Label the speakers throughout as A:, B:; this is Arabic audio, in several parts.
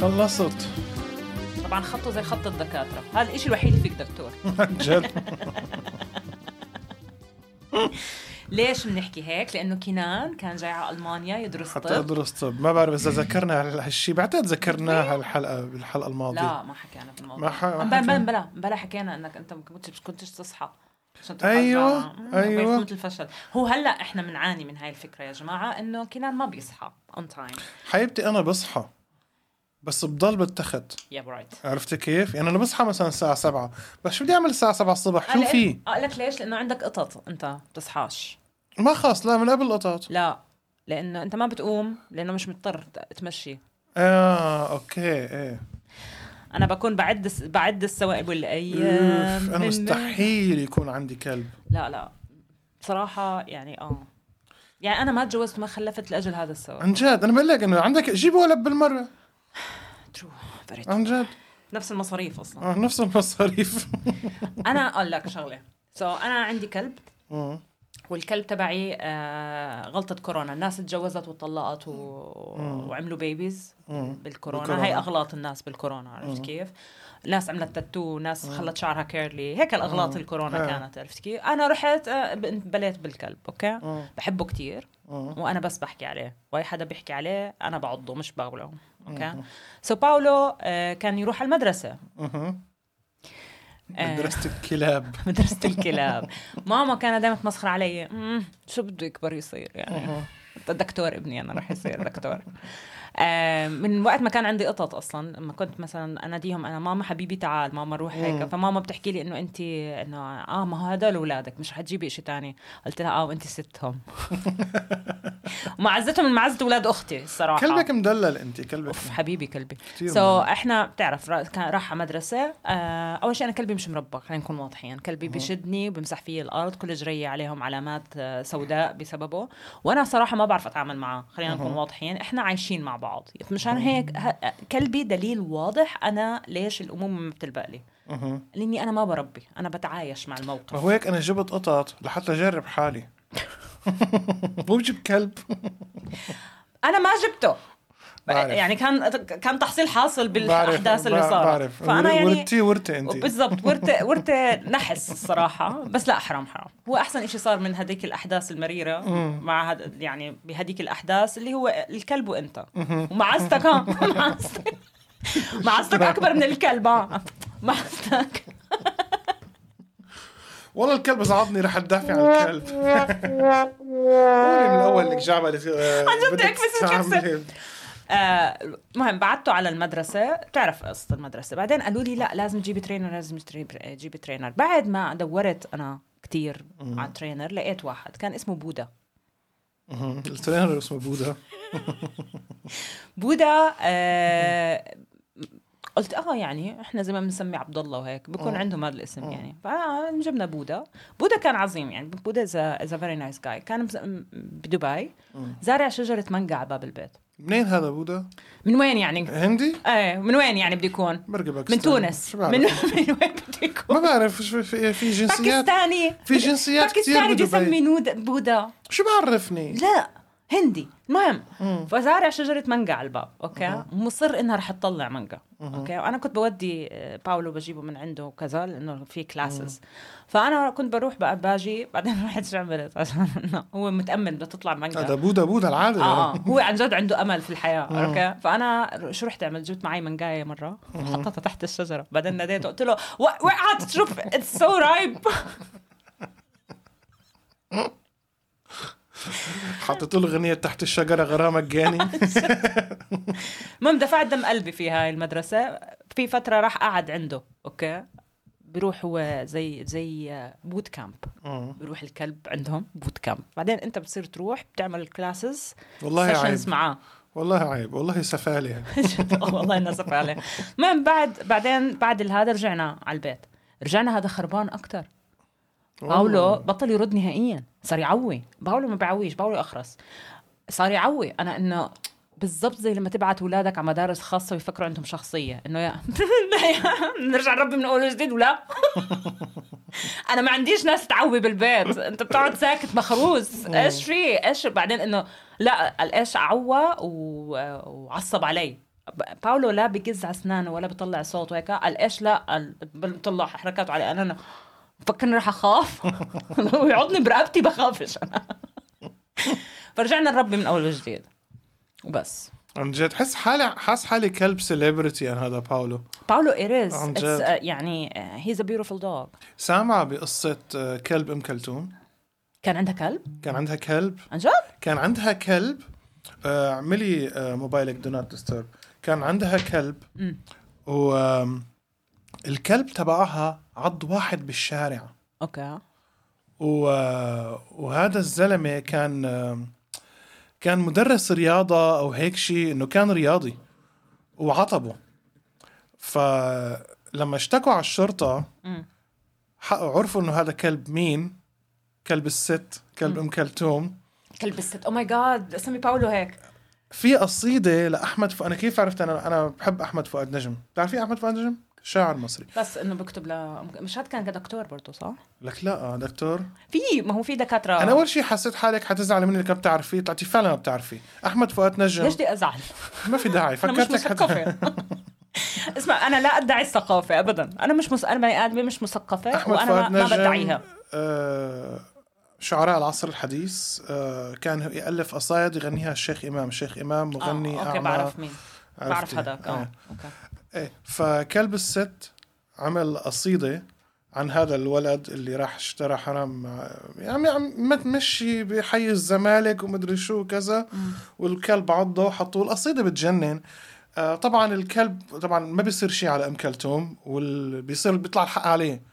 A: خلصت
B: طبعا خطه زي خط الدكاتره هذا الشيء الوحيد اللي فيك دكتور
A: عن جد
B: ليش بنحكي هيك لانه كنان كان جاي على المانيا يدرس
A: حتى
B: طب
A: ادرس طب ما بعرف اذا ذكرنا هال- هالشي بعتقد ذكرناها الحلقه بالحلقه الماضيه
B: طيب. لا ما حكينا بالموضوع
A: ما ح- ما
B: امبلا
A: حكينا.
B: امبلا امبلا امبلا حكينا انك انت ما كنتش كنتش تصحى عشان تروح
A: أيوة،
B: على الجامعة.
A: أيوة.
B: بيفوت الفشل هو هلا احنا بنعاني من هاي الفكره يا جماعه انه كنان ما بيصحى اون تايم
A: حبيبتي انا بصحى بس بضل بالتخت
B: يا برايت
A: عرفتي كيف؟ يعني انا بصحى مثلا الساعه 7 بس شو بدي اعمل الساعه 7 الصبح؟ شو
B: قال-
A: في؟
B: قال لك ليش لانه عندك قطط انت بتصحاش
A: ما خلص لا من قبل القطط
B: لا لانه انت ما بتقوم لانه مش مضطر ت- تمشي
A: اه اوكي ايه
B: انا بكون بعد الس- بعد السوائب والايام
A: أوف، انا
B: من-
A: مستحيل يكون عندي كلب
B: لا لا بصراحه يعني اه يعني انا ما تجوزت ما خلفت لاجل هذا السبب
A: عن جد انا بقول لك انه عندك جيب ولد بالمره
B: ترو very true.
A: عن جد
B: نفس المصاريف اصلا
A: آه، نفس المصاريف
B: انا اقول لك شغله سو so, انا عندي كلب
A: آه.
B: والكلب تبعي آه غلطه كورونا الناس تجوزت وطلقت و... وعملوا بيبيز
A: مم.
B: بالكورونا
A: بالكورونا.
B: هاي اغلاط الناس بالكورونا عرفت كيف ناس عملت تاتو ناس خلت شعرها كيرلي هيك الاغلاط الكورونا
A: آه.
B: كانت عرفت كيف انا رحت آه، ب- انبليت بالكلب اوكي
A: آه.
B: بحبه كتير
A: آه.
B: وانا بس بحكي عليه واي حدا بيحكي عليه انا بعضه مش بغله اوكي سو باولو آه، كان يروح على المدرسه
A: أها.
B: آه.
A: مدرسة الكلاب
B: مدرسة الكلاب ماما كانت دائما تمسخر علي "أمم، شو بده يكبر يصير يعني دكتور ابني انا رح يصير دكتور آه، من وقت ما كان عندي قطط اصلا لما كنت مثلا اناديهم انا ماما حبيبي تعال ماما روح هيك فماما بتحكي لي انه انت انه اه ما هو هدول اولادك مش حتجيبي شيء تاني قلت لها اه وانت ستهم ومعزتهم من معزه اولاد اختي الصراحه
A: كلبك مدلل انت كلبك
B: اوف حبيبي كلبي سو
A: كتير
B: so, احنا بتعرف را- كان راح على مدرسه آه اول شيء انا كلبي مش مربى خلينا نكون واضحين كلبي بشدني وبمسح فيه الارض كل جري عليهم علامات آه، سوداء بسببه وانا صراحه ما بعرف اتعامل معه خلينا نكون واضحين احنا عايشين مع بعض مشان هيك ه- كلبي دليل واضح انا ليش الامومه ما بتلبق لي
A: أها.
B: لاني انا ما بربي انا بتعايش مع الموقف
A: ما هو هيك انا جبت قطط لحتى اجرب حالي مو بجيب كلب
B: انا ما جبته
A: بعرف.
B: يعني كان كان تحصيل حاصل
A: بعرف،
B: بالاحداث اللي
A: بع-
B: صارت
A: بعرف
B: فانا يعني
A: ورتي ورتي انت
B: بالضبط ورثة ورثة نحس الصراحة بس لا حرام حرام هو أحسن إشي صار من هديك الأحداث المريرة مع هد... يعني بهديك الأحداث اللي هو الكلب وأنت ومعزتك ها معزتك معزتك أكبر من الكلب آه. ها معزتك
A: والله الكلب زعضني رح ادافع عن الكلب قولي من الاول انك جعبه
B: عن جد اكبس الكبسة. آه، المهم بعته على المدرسة بتعرف قصة المدرسة بعدين قالوا لي لا لازم تجيبي ترينر لازم تري- تجيبي ترينر بعد ما دورت أنا كتير على ترينر لقيت واحد كان اسمه بودا
A: الترينر اسمه بودا
B: بودا آه قلت اه يعني احنا زي ما بنسمي عبد الله وهيك بكون عندهم هذا الاسم يعني فجبنا بودا بودا كان عظيم يعني بودا از فيري نايس جاي كان بز- م- بدبي زارع شجره مانجا على باب البيت
A: منين هذا بودا؟
B: من وين يعني
A: هندي؟
B: ايه من وين يعني بده يكون
A: برجع باكستان
B: من تونس
A: شو
B: من,
A: بعرف؟
B: من وين بده يكون
A: ما بعرف شو في, في جنسيات
B: باكستاني
A: في جنسيات كثير
B: باكستاني
A: بدبي
B: بيسمي نود- بودا
A: شو بعرفني؟
B: لا هندي المهم فزارع شجره مانجا على الباب اوكي مصر انها رح تطلع مانجا اوكي وانا كنت بودي آه، باولو بجيبه من عنده وكذا لانه في كلاسز فانا كنت بروح بقى باجي بعدين رحت شو عملت عشان إنه هو متامل بده تطلع مانجا
A: هذا بودا بودا العادة
B: اه آه. هو عن جد عنده امل في الحياه اوكي فانا شو رحت عملت جبت معي منقايه مره حطيتها تحت الشجره بعدين ناديته قلت له آه، "و- وقعت شوف اتس سو رايب
A: حطيت له اغنية تحت الشجرة غرامك جاني
B: المهم دفعت دم قلبي في هاي المدرسة في فترة راح قعد عنده أوكي بيروح هو زي زي بوت كامب بيروح الكلب عندهم بوت كامب بعدين انت بتصير تروح بتعمل كلاسز
A: والله عيب.
B: معاه
A: والله عيب والله يعني. سفالة
B: والله انا اسف عليه المهم بعد بعدين بعد هذا رجعنا على البيت رجعنا هذا خربان اكثر باولو بطل يرد نهائيا صار يعوي باولو ما بيعويش باولو اخرس صار يعوي انا انه بالضبط زي لما تبعت اولادك على مدارس خاصه ويفكروا عندهم شخصيه انه يا لا يا- نرجع نربي من اول وجديد ولا انا ما عنديش ناس تعوي بالبيت انت بتقعد ساكت مخروس ايش في ايش بعدين انه لا الايش عوى و... وعصب علي ب- باولو لا بقز على اسنانه ولا بطلع صوت وهيك قال ايش لا قال بل- بطلع حركاته على انا فكرني رح اخاف لو يعضني برقبتي بخافش انا فرجعنا لربي من اول وجديد وبس
A: عن جد حس حالي حاس حالي كلب سيلبرتي انا هذا باولو
B: باولو ايريز
A: عن
B: It's,
A: جد.
B: uh, يعني هيز ا بيوتيفول دوغ
A: سامعه بقصه آه، كلب ام كلثوم
B: كان عندها كلب
A: كان عندها كلب
B: عن جد؟
A: كان عندها كلب آه، اعملي آه، موبايلك دو نوت ديسترب كان عندها كلب
B: مم.
A: والكلب تبعها عض واحد بالشارع
B: اوكي
A: و... وهذا الزلمه كان كان مدرس رياضه او هيك شيء انه كان رياضي وعطبه فلما اشتكوا على الشرطه
B: مم.
A: ح- عرفوا انه هذا كلب مين كلب الست كلب ام كلثوم
B: كلب الست او ماي جاد اسمي باولو هيك
A: في قصيده لاحمد فؤاد انا كيف عرفت انا انا بحب احمد فؤاد نجم بتعرفي احمد فؤاد نجم شاعر مصري
B: بس انه بكتب ل مش هاد كان دكتور برضه صح؟
A: لك لا دكتور
B: في ما هو في دكاتره
A: انا اول شيء حسيت حالك حتزعلي مني لك بتعرفيه طلعتي فعلا ما بتعرفيه احمد فؤاد نجم
B: ليش بدي ازعل؟
A: ما في داعي
B: انا مش
A: فكرتك حتى
B: مثقفه اسمع انا لا ادعي الثقافه ابدا انا مش مس... انا بني ادمه مش مثقفه
A: احمد
B: وانا ما,
A: فؤاد
B: ما
A: نجم
B: بدعيها
A: آه، شعراء العصر الحديث آه، كان يالف قصايد يغنيها الشيخ امام الشيخ امام مغني
B: آه، اوكي
A: أعمى.
B: بعرف مين بعرف
A: عرفتي.
B: هذاك اه
A: آه.
B: اوكي
A: إيه. فكلب الست عمل قصيده عن هذا الولد اللي راح اشترى حرام مع- يعني عم ما تمشي بحي الزمالك ومدري شو كذا والكلب عضه وحطوه القصيده بتجنن آه، طبعا الكلب طبعا ما بيصير شيء على ام كلثوم وبيصير بيطلع الحق عليه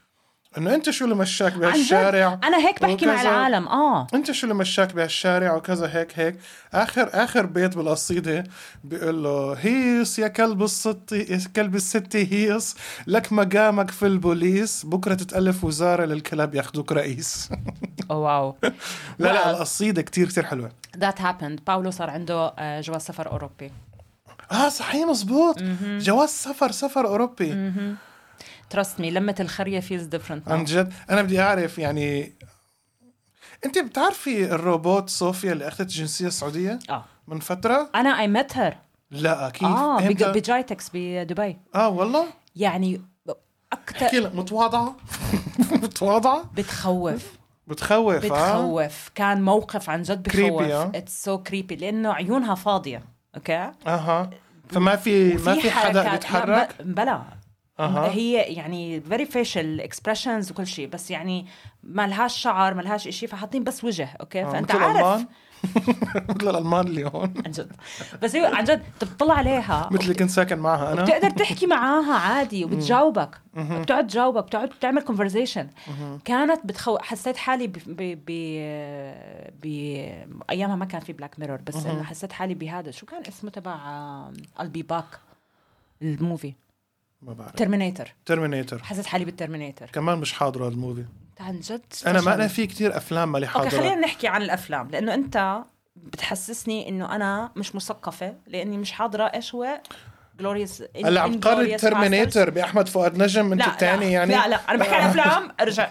A: انه انت شو اللي مشاك بهالشارع
B: عن جد، انا هيك بحكي مع
A: وكذا.
B: العالم اه
A: انت شو اللي مشاك بهالشارع وكذا هيك هيك اخر اخر بيت بالقصيده بيقول له هيص يا كلب الست يا كلب الست هيص لك مقامك في البوليس بكره تتالف وزاره للكلاب ياخذوك رئيس
B: أوه، واو
A: لا لا
B: واو.
A: القصيده كتير كتير حلوه
B: ذات هابند باولو صار عنده آه، جواز سفر اوروبي
A: اه صحيح مزبوط جواز سفر سفر اوروبي
B: تراست مي لمة الخرية فيز ديفرنت
A: عن جد انا بدي اعرف يعني انت بتعرفي الروبوت صوفيا اللي اخذت الجنسيه السعوديه
B: اه
A: من فتره
B: انا اي مت هير
A: لا كيف
B: اه بج-
A: إيه، إمتى؟
B: بجايتكس بدبي
A: اه والله
B: يعني اكثر
A: احكي لك متواضعة متواضعة
B: بتخوف
A: بتخوف اه
B: بتخوف كان موقف عن جد
A: Creepy،
B: بخوف
A: آه.
B: اتس سو كريبي لانه عيونها فاضيه اوكي
A: اها فما في ما في حدا
B: حركات- لا،
A: بيتحرك
B: ب- بلا
A: اها
B: هي يعني فيري فيشل اكسبريشنز وكل شيء بس يعني ما لهاش شعر ما لهاش شيء فحاطين بس وجه اوكي
A: آه،
B: فانت
A: مثل
B: عارف آه،
A: الألمان. مثل الالمان اللي هون
B: عن جد بس هي عن جد أنت بتطلع عليها
A: مثل اللي كنت ساكن معها انا
B: بتقدر تحكي معاها عادي وبتجاوبك بتقعد تجاوبك بتقعد تعمل كونفرزيشن كانت بتخو حسيت حالي ب... ب... ب... ب... ايامها ما كان في بلاك ميرور بس انه حسيت حالي بهذا شو كان اسمه تبع البي باك الموفي
A: ما بعرف
B: ترمينيتر
A: ترمينيتر
B: حسيت حالي بالترمينيتر
A: كمان مش حاضرة الموفي
B: عن جد
A: انا ما
B: فشل.
A: انا في كتير افلام مالي
B: اوكي خلينا
A: حاضرة
B: نحكي عن الافلام لانه انت بتحسسني انه انا مش مثقفه لاني مش حاضره ايش هو جلوريوس
A: هلا عم تقارن ترمينيتر باحمد فؤاد نجم انت الثاني يعني
B: لا لا انا بحكي عن افلام ارجع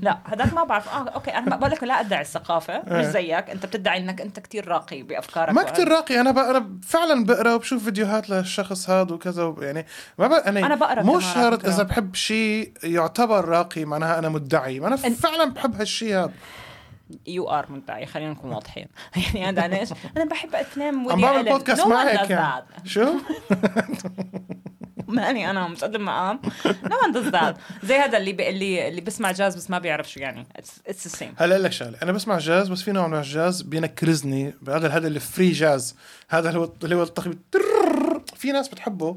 B: لا هذاك ما بعرف اه اوكي انا بقول لك لا ادعي الثقافه مش زيك انت بتدعي انك انت كتير راقي بافكارك
A: آه. ما
B: وهذا.
A: كتير راقي انا بقى انا فعلا بقرا وبشوف فيديوهات للشخص هذا وكذا وب- يعني ما بقى انا
B: أنا بقرا
A: مو
B: كمان على
A: شرط
B: فكرة.
A: اذا بحب شيء يعتبر راقي معناها انا مدعي ما انا
B: أن-
A: فعلا بحب هالشيء هذا
B: يو ار مدعي خلينا نكون واضحين يعني انا ايش انا بحب افلام
A: عم
B: ودي
A: بعمل
B: ألن.
A: بودكاست
B: No one
A: معك
B: does
A: يعني
B: that.
A: شو؟
B: ماني انا مش قد المقام نو ون داز ذات زي هذا اللي بي اللي اللي بيسمع جاز بس ما بيعرف شو يعني اتس ذا سيم
A: هلا اقول لك شغله انا بسمع جاز بس في نوع من الجاز بينكرزني هذا هذا الفري جاز هذا اللي هو اللي هو التخبيط ترررر. في ناس بتحبه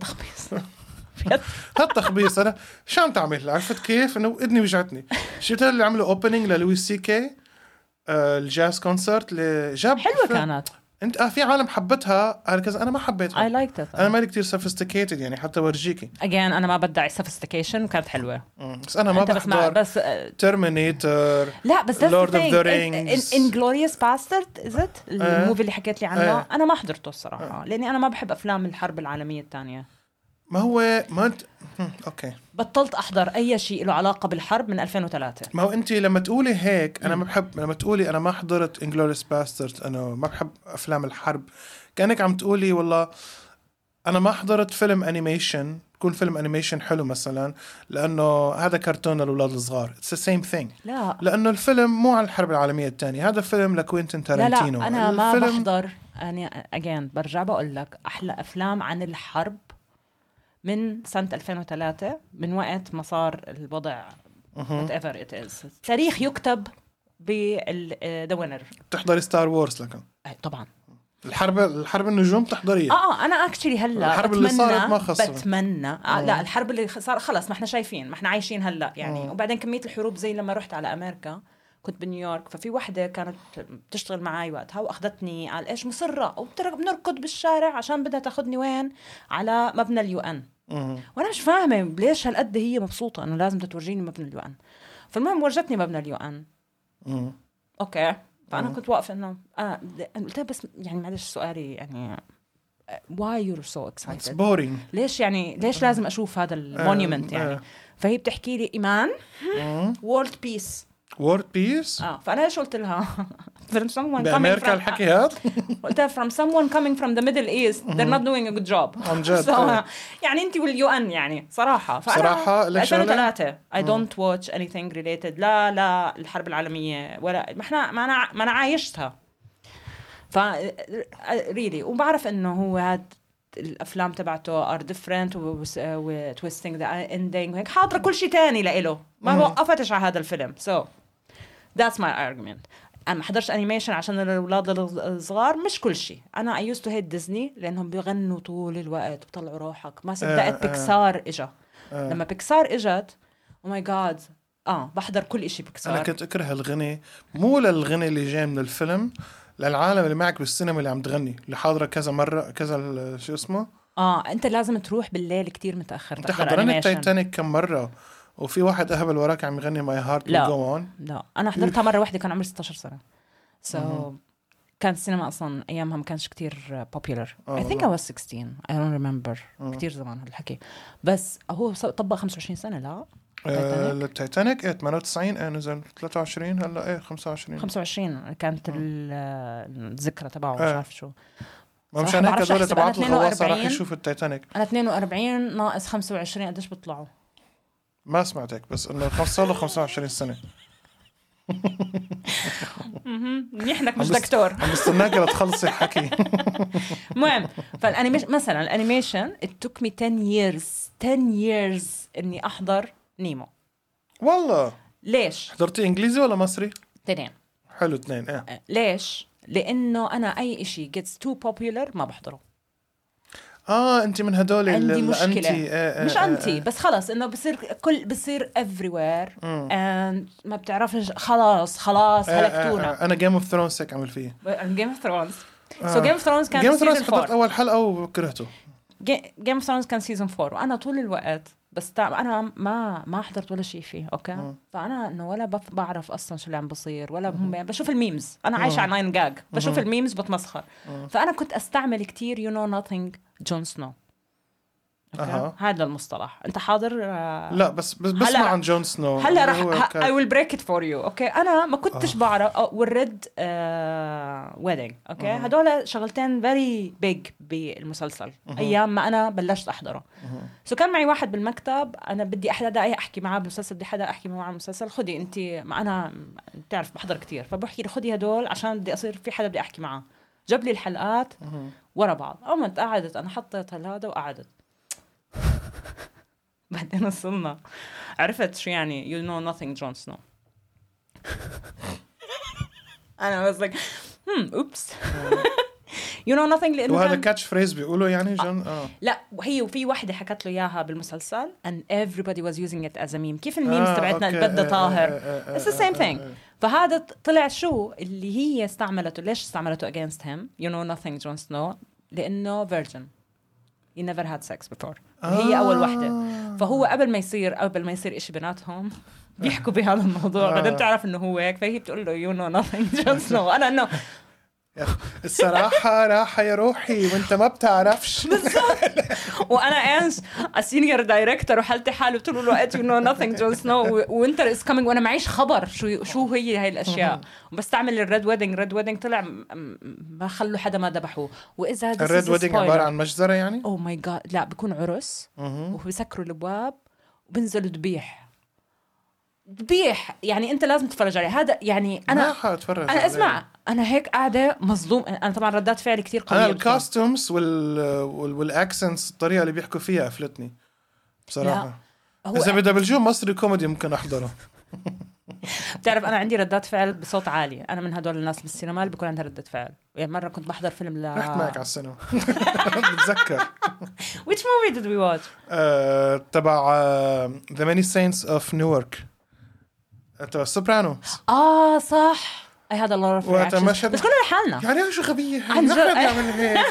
A: هالتخبيص انا شو عم تعمل عرفت كيف انه اذني وجعتني شفت اللي عملوا اوبننج للويس سي كي آه، الجاز كونسرت اللي جاب
B: حلوه كانت
A: انت اه في عالم حبتها قال كذا انا ما
B: اي
A: حبيتها
B: لايك
A: انا
B: ات
A: مالي كتير سوفيستيكيتد يعني حتى ورجيكي
B: اجين انا ما بدعي سوفيستيكيشن وكانت حلوه
A: مم. بس انا ما
B: انت بس ما
A: بحضر
B: بس آه،
A: ترمينيتر
B: لا بس that's
A: Lord
B: the
A: of
B: thing.
A: the
B: In-
A: Rings.
B: in-
A: آه.
B: Inglorious Bastard is it الموفي اللي حكيت لي عنه
A: إيه.
B: انا ما حضرته
A: آه.
B: الصراحه لاني انا ما بحب افلام الحرب العالميه الثانيه
A: ما هو ما انت مم، اوكي
B: بطلت احضر اي شيء له علاقه بالحرب من 2003
A: ما هو انت لما تقولي هيك انا ما بحب لما تقولي انا ما حضرت انجلوريس باسترد انا ما بحب افلام الحرب كانك عم تقولي والله انا ما حضرت فيلم انيميشن يكون فيلم انيميشن حلو مثلا لانه هذا كرتون للاولاد الصغار اتس سيم ثينج
B: لا
A: لانه الفيلم مو عن الحرب العالميه الثانيه هذا فيلم لكوينتين
B: لا لا
A: تارنتينو
B: انا ما
A: الفيلم
B: بحضر انا اجين برجع بقول لك احلى افلام عن الحرب من سنه 2003 من وقت ما صار الوضع
A: مهم.
B: وات ايفر ات از التاريخ يكتب بال آه، وينر
A: بتحضري ستار وورز لكن
B: طبعا
A: الحرب الحرب النجوم بتحضريها
B: اه اه انا اكشلي هلا
A: الحرب اللي
B: بتمنى-
A: صارت ما خسرت.
B: بتمنى آه لا الحرب اللي صار خلص ما احنا شايفين ما احنا عايشين هلا يعني
A: آه.
B: وبعدين كميه الحروب زي لما رحت على امريكا كنت بنيويورك ففي وحده كانت بتشتغل معي وقتها واخذتني على ايش مصره وبنركض بالشارع عشان بدها تاخذني وين على مبنى اليو ان
A: مهم.
B: وانا مش فاهمه ليش هالقد هي مبسوطه انه لازم بدها تورجيني مبنى اليو ان فالمهم ورجتني مبنى اليو ان
A: مهم.
B: اوكي فانا
A: مم.
B: كنت واقفه انه انا قلت لها بس يعني معلش سؤالي يعني واي يور سو
A: اتس
B: اكسايتد
A: بورينج
B: ليش يعني ليش لازم اشوف هذا
A: آه،
B: المونيومنت يعني فهي بتحكي لي ايمان وورلد بيس
A: وورد بيس
B: اه فانا ايش قلت لها from someone coming
A: بامريكا
B: from
A: الحكي هذا
B: قلت لها from someone coming from the middle east they're not doing a good job
A: عن جد،
B: So،
A: آه.
B: يعني انت واليو ان يعني صراحه فانا
A: صراحة، لك شغلة؟
B: 2003 I don't watch anything related لا لا الحرب العالميه ولا ما احنا ما انا ما انا عايشتها ف ريلي وبعرف انه هو هاد الافلام تبعته ار ديفرنت وتويستنج ذا اندينج وهيك حاضره كل شيء تاني لإله ما وقفتش على هذا الفيلم سو ذاتس ماي ارجيومنت انا ما حضرش انيميشن عشان الاولاد الصغار مش كل شيء انا اي يوست تو هيت ديزني لانهم بيغنوا طول الوقت بطلعوا روحك ما صدقت
A: آه.
B: بيكسار اجا
A: آه.
B: لما oh بيكسار اجت او ماي جاد اه بحضر كل شيء
A: انا
B: بيكسار
A: كنت اكره الغني مو للغني اللي جاي من الفيلم للعالم اللي معك بالسينما اللي عم تغني اللي حاضره كذا مره كذا ال- شو اسمه
B: اه انت لازم تروح بالليل كتير متاخر
A: انت
B: تحضر
A: حضرني
B: animation.
A: التايتانيك كم مره وفي واحد اهبل وراك عم يغني ماي هارت
B: لا.
A: جو اون
B: لا انا حضرتها مره واحده كان عمري 16 سنه سو so, كان السينما اصلا ايامها ما كانش كتير بوبيلر
A: آه،
B: اي ثينك اي
A: لا.
B: واز 16 اي دونت ريمبر كتير زمان هالحكي بس هو ص- طبق 25 سنه لا
A: آه،
B: تايتانيك؟
A: التايتانيك ايه 98 ايه نزل 23 هلا ايه 25
B: 25 كانت ال- الذكرى تبعه مش
A: آه.
B: عارف شو
A: ما
B: صراحة
A: مشان هيك
B: بعرفش
A: هذول
B: أحسب،
A: تبعت
B: أنا
A: الغواصه راح
B: 42.
A: يشوفوا التايتانيك
B: انا 42 ناقص 25 قديش بيطلعوا؟
A: ما سمعتك بس انه خمس- صار له 25 سنه
B: منيح انك مش
A: عم بس-
B: دكتور
A: عم بستناك لتخلصي الحكي
B: المهم فالانيميشن مثلا الانيميشن it took me 10 years 10 years اني احضر نيمو
A: والله
B: ليش؟
A: حضرتي انجليزي ولا مصري؟
B: تنين
A: حلو اثنين ايه
B: ليش؟ لانه انا اي شيء جيتس تو بوبيولر ما بحضره
A: اه انت من هدول اللي-
B: عندي
A: اللي
B: مشكله
A: أنتي- آه، آه،
B: مش
A: آه،
B: انتي
A: آه.
B: بس خلص انه بصير كل بصير افري وير
A: مم.
B: اند ما بتعرفش خلاص خلاص
A: آه، آه،
B: هلكتونا
A: آه، انا جيم اوف ثرونز هيك عمل فيه
B: جيم اوف ثرونز
A: آه.
B: سو جيم اوف ثرونز كان
A: جيم اوف ثرونز
B: سيزون
A: حضرت
B: 4
A: اول حلقه وكرهته
B: جيم اوف ثرونز كان سيزون 4 وانا طول الوقت بس تع- انا ما ما حضرت ولا شيء فيه اوكي
A: مم.
B: فانا انه ولا بف- بعرف اصلا شو اللي عم بصير ولا هم بشوف الميمز انا عايشه على 9 جاج بشوف الميمز بتمسخر فانا كنت استعمل كتير يو نو نوثينج جون سنو
A: أها.
B: هذا المصطلح انت حاضر آه،
A: لا بس بس بسمع
B: هلا-
A: عن جون سنو
B: هلا
A: اللي
B: رح
A: هو كان-
B: اي ويل بريك ات فور يو اوكي انا ما كنتش بعرف آه، والريد ويدنج اوكي هدول شغلتين فيري بيج بالمسلسل ايام ما انا بلشت احضره سو كان معي واحد بالمكتب انا بدي حدا احكي معاه بالمسلسل بدي حدا احكي معاه بالمسلسل خدي انت ما انا بتعرف بحضر كتير فبحكي لي خدي هدول عشان بدي اصير في حدا بدي احكي معاه جاب لي الحلقات ورا بعض قمت قعدت انا حطيت هذا وقعدت بعدين وصلنا عرفت شو يعني you know nothing Jon Snow انا was like hmm oops you know nothing لانه
A: وهذا
B: كان-
A: كاتش فريز بيقولوا يعني جون اه
B: لا وهي وفي وحده حكت له اياها بالمسلسل and everybody was using it as a meme كيف الميمز
A: آه،
B: تبعتنا
A: أوكي.
B: البدة
A: آه، آه،
B: طاهر
A: آه، آه،
B: It's the same
A: آه،
B: thing.
A: آه، آه.
B: فهذا طلع شو اللي هي استعملته ليش استعملته against him you know nothing Jon Snow لانه virgin he never had sex before
A: آه.
B: هي اول وحده فهو قبل ما يصير قبل ما يصير إشي بيناتهم بيحكوا بهذا الموضوع
A: آه.
B: بعدين بتعرف انه هو هيك فهي بتقول له يو نو nothing Jon Snow انا انه
A: يا أخ، الصراحة راحة يا روحي وانت ما بتعرفش
B: وانا انس السينيور دايركتور وحالتي حالي طول الوقت يو نو نثينج جون سنو وينتر از كامينج وانا معيش خبر شو شو هي هاي الاشياء وبستعمل الريد ويدنج ريد ويدنج طلع م- م- ما خلوا حدا ما ذبحوه واذا
A: الريد ويدنج عبارة عن مجزرة يعني؟
B: او ماي جاد Oh لا بكون عرس
A: مهم.
B: وبسكروا الابواب وبنزلوا ذبيح ذبيح يعني انت لازم تتفرج عليه هذا يعني
A: ما
B: انا
A: حاتفرج
B: انا
A: عليه.
B: اسمع انا هيك قاعده مصدوم انا طبعا ردات فعلي كثير قويه
A: انا
B: بتكون.
A: الكاستومز وال... وال... والاكسنتس الطريقه اللي بيحكوا فيها قفلتني بصراحه
B: هو
A: اذا بدبلجوه مصري كوميدي ممكن احضره
B: بتعرف انا عندي ردات فعل بصوت عالي انا من هدول الناس بالسينما اللي بكون عندها ردة فعل يعني مره كنت بحضر فيلم ل
A: رحت معك على السينما بتذكر
B: which movie did we watch
A: آه، تبع آه، ذا ماني سينتس اوف نيويورك تبع سوبرانو
B: اه صح I had a lot of
A: وقتها
B: reactions
A: مشهد-
B: بس كنا لحالنا
A: يعني شو غبيه هي
B: عن جد.
A: نحن بنعمل هيك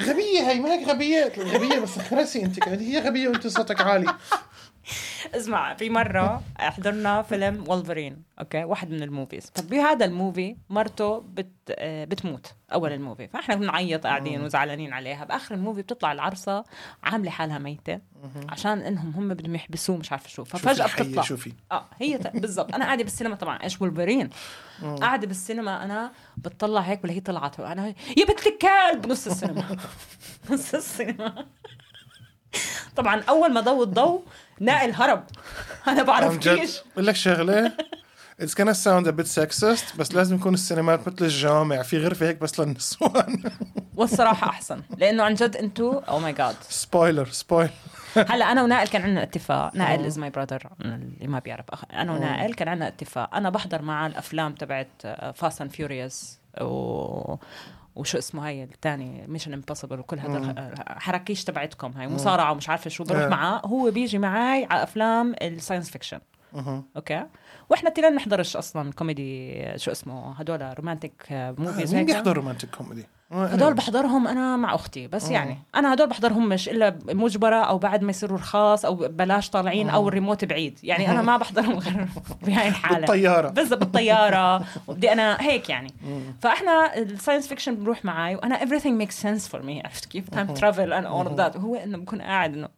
A: غبيه هي ما هيك غبيات غبيه بس خرسي انت كمان هي غبيه وانت صوتك عالي
B: اسمع في مرة حضرنا فيلم وولفرين اوكي واحد من الموفيز فبهذا الموفي مرته بت... آه، بتموت اول الموفي فاحنا بنعيط قاعدين وزعلانين عليها باخر الموفي بتطلع العرسة عاملة حالها ميتة عشان انهم هم بدهم يحبسوه مش عارفة شو ففجأة
A: شوفي الحية،
B: بتطلع
A: شوفي
B: اه هي ت- بالضبط انا قاعده بالسينما طبعا ايش وولفرين قاعده بالسينما انا بتطلع هيك ولا هي طلعت انا هي- يا بنت الكلب نص السينما نص السينما طبعا اول ما ضوء الضوء نائل هرب انا بعرف
A: عن جد
B: كيش
A: بقول لك شغله It's gonna sound a bit sexist بس لازم يكون السينمات مثل الجامع في غرفة هيك بس للنسوان
B: والصراحه احسن لانه عن جد oh انتو او ماي جاد
A: سبويلر سبويلر
B: هلا انا ونائل كان عندنا اتفاق نائل
A: آه.
B: از ماي براذر اللي ما بيعرف أخ... انا ونائل كان عندنا اتفاق انا بحضر معاه الافلام تبعت آه، فاست اند فيوريوس و وشو اسمه هاي الثاني ميشن امبوسيبل وكل هذا الح- حركيش تبعتكم هاي مصارعه ومش عارفه شو بروح
A: إيه.
B: معاه هو بيجي معي على افلام الساينس فيكشن اوكي واحنا التنين بنحضرش اصلا كوميدي شو اسمه هدول رومانتك موفيز
A: آه، مين بيحضر رومانتك كوميدي؟
B: يعني. هدول بحضرهم انا مع اختي بس يعني انا هدول بحضرهم مش الا مجبره او بعد ما يصيروا رخاص او بلاش طالعين او الريموت بعيد يعني انا ما بحضرهم غير بهاي الحاله
A: بالطيارة.
B: بالضبط بالطياره وبدي انا هيك يعني فاحنا الساينس فيكشن بروح معي وانا everything makes sense for me عرفت كيف تايم ترافل and all of that هو انه بكون قاعد انه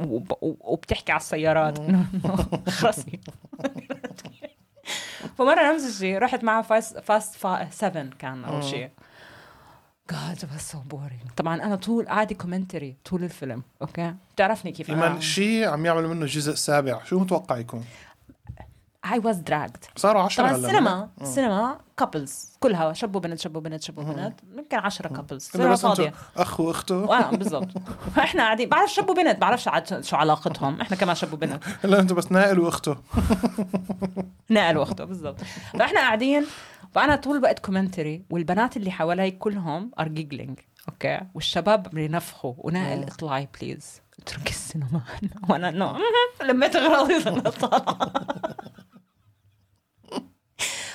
B: وب- وبتحكي على السيارات إنه- إنه خرسي فمره نفس الشيء رحت معها فاست فاست 7 كان او شيء جاد بس سو بورينج طبعا انا طول قاعده كومنتري طول الفيلم اوكي بتعرفني كيف آه.
A: إيمان
B: انا
A: شيء عم يعملوا منه جزء سابع شو متوقع يكون؟
B: اي واز دراجد
A: صاروا 10
B: طبعا
A: هلا
B: السينما السينما كابلز كلها شب وبنت شب وبنت شب وبنت يمكن 10 كابلز
A: كنا
B: سينما
A: بس انتو
B: فاضيه
A: اخ واخته
B: وانا بالضبط فاحنا قاعدين بعرف شب وبنت بعرفش عاد شو علاقتهم احنا كمان شب وبنت
A: هلا انتو بس نائل واخته
B: نقل وقته بالضبط فاحنا قاعدين فانا طول الوقت كومنتري والبنات اللي حوالي كلهم ار جيجلينج اوكي والشباب بينفخوا ونائل اطلعي بليز اتركي السينما وانا نو لميت اغراضي وانا طالعه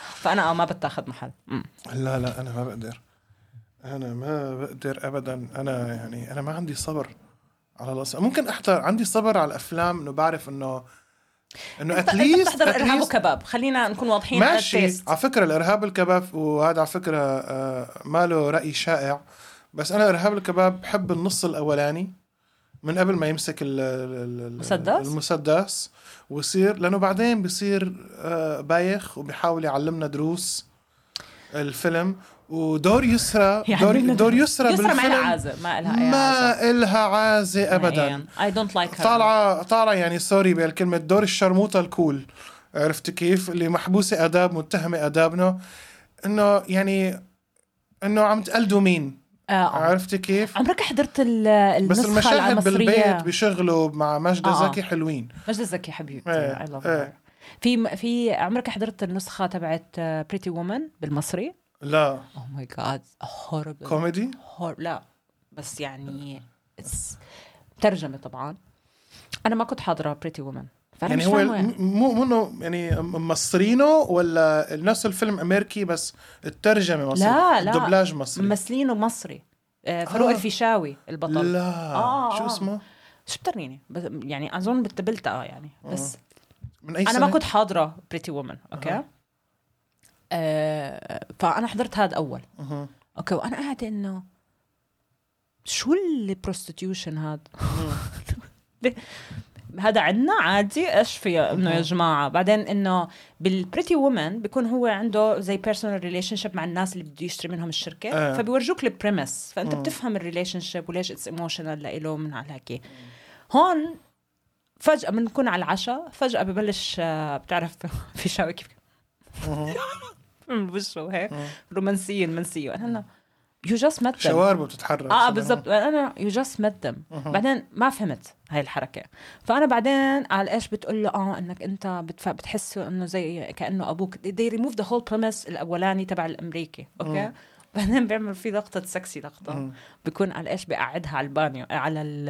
B: فانا آه ما بتاخذ محل أمم.
A: لا لا انا ما بقدر انا ما بقدر ابدا انا يعني انا ما عندي صبر على الأص... ممكن احضر عندي صبر على الافلام انه بعرف انه انه
B: أنت- انت
A: اتليست
B: بتحضر ارهاب وكباب خلينا نكون واضحين على
A: ماشي
B: التيست
A: على فكره الارهاب الكباب وهذا على فكره آه، ماله راي شائع بس انا ارهاب الكباب بحب النص الاولاني من قبل ما يمسك ال- ال- ال-
B: المسدس؟
A: المسدس ويصير لانه بعدين بيصير آه، بايخ وبيحاول يعلمنا دروس الفيلم ودور يسرى دور,
B: يعلمنا
A: دور يسرى
B: يسرى يعني ما لها
A: بالفيلم
B: عازة ما لها اي عازة
A: ما إلها عازة ابدا
B: اي دونت لايك
A: طالعه طالعه يعني سوري بالكلمه دور الشرموطه الكول عرفت كيف اللي محبوسه اداب متهمه ادابنا انه يعني انه عم تقلدوا مين
B: آه.
A: عرفت كيف
B: عمرك حضرت ال-
A: بس
B: النسخة
A: المشاهد بالبيت
B: المصرية
A: بيشغلوا مع ماجدة
B: آه.
A: زكي حلوين
B: مجد الزكي حبيبتي
A: إيه،
B: اي لاف
A: إيه.
B: في في عمرك حضرت النسخة تبعت بريتي وومن بالمصري؟
A: لا
B: او ماي جاد هوربل
A: كوميدي
B: لا بس يعني it's- ترجمة طبعا انا ما كنت حاضرة بريتي وومن فانا
A: يعني
B: مش
A: هو
B: فاهمة
A: م- مو منه يعني م- مصرينه ولا نفس الفيلم امريكي بس الترجمه مصري
B: لا، لا.
A: الدبلاج مصري
B: ممثلينه مصري آه، فاروق
A: آه.
B: الفيشاوي البطل
A: لا
B: آه،
A: شو
B: آه.
A: اسمه
B: شو بترنيني بس يعني اظن
A: آه.
B: بالتبلتة اه يعني بس
A: من اي
B: انا
A: سنه
B: ما كنت حاضره بريتي وومن اوكي آه فانا حضرت هذا اول
A: مهم.
B: اوكي وانا قاعده انه شو البروستيتيوشن هذا ليه؟ هذا عندنا عادي ايش في انه يا جماعه بعدين انه بالبريتي وومن بيكون هو عنده زي بيرسونال ريليشن شيب مع الناس اللي بده يشتري منهم الشركه
A: آه.
B: آه. فبيورجوك البريمس فانت
A: مم.
B: بتفهم الريليشن شيب وليش اتس ايموشنال لإله من على هيك هون فجاه بنكون على العشاء فجاه ببلش آه، بتعرف في شاوي كيف
A: مهم.
B: من وشه وهيك
A: مم.
B: رومانسيا المنسيه انا يو جاست مت
A: شواربه بتتحرك
B: اه بالضبط انا يو جاست ميت ذم
A: مهم.
B: بعدين ما فهمت هاي الحركه فانا بعدين على ايش بتقول له اه انك انت بتف... بتحسه انه زي كانه ابوك they remove the whole premise الاولاني تبع الامريكي اوكي
A: مم.
B: بعدين بيعمل في لقطه سكسي لقطه
A: مم.
B: بيكون على ايش بقعدها على البانيو آه، على ال...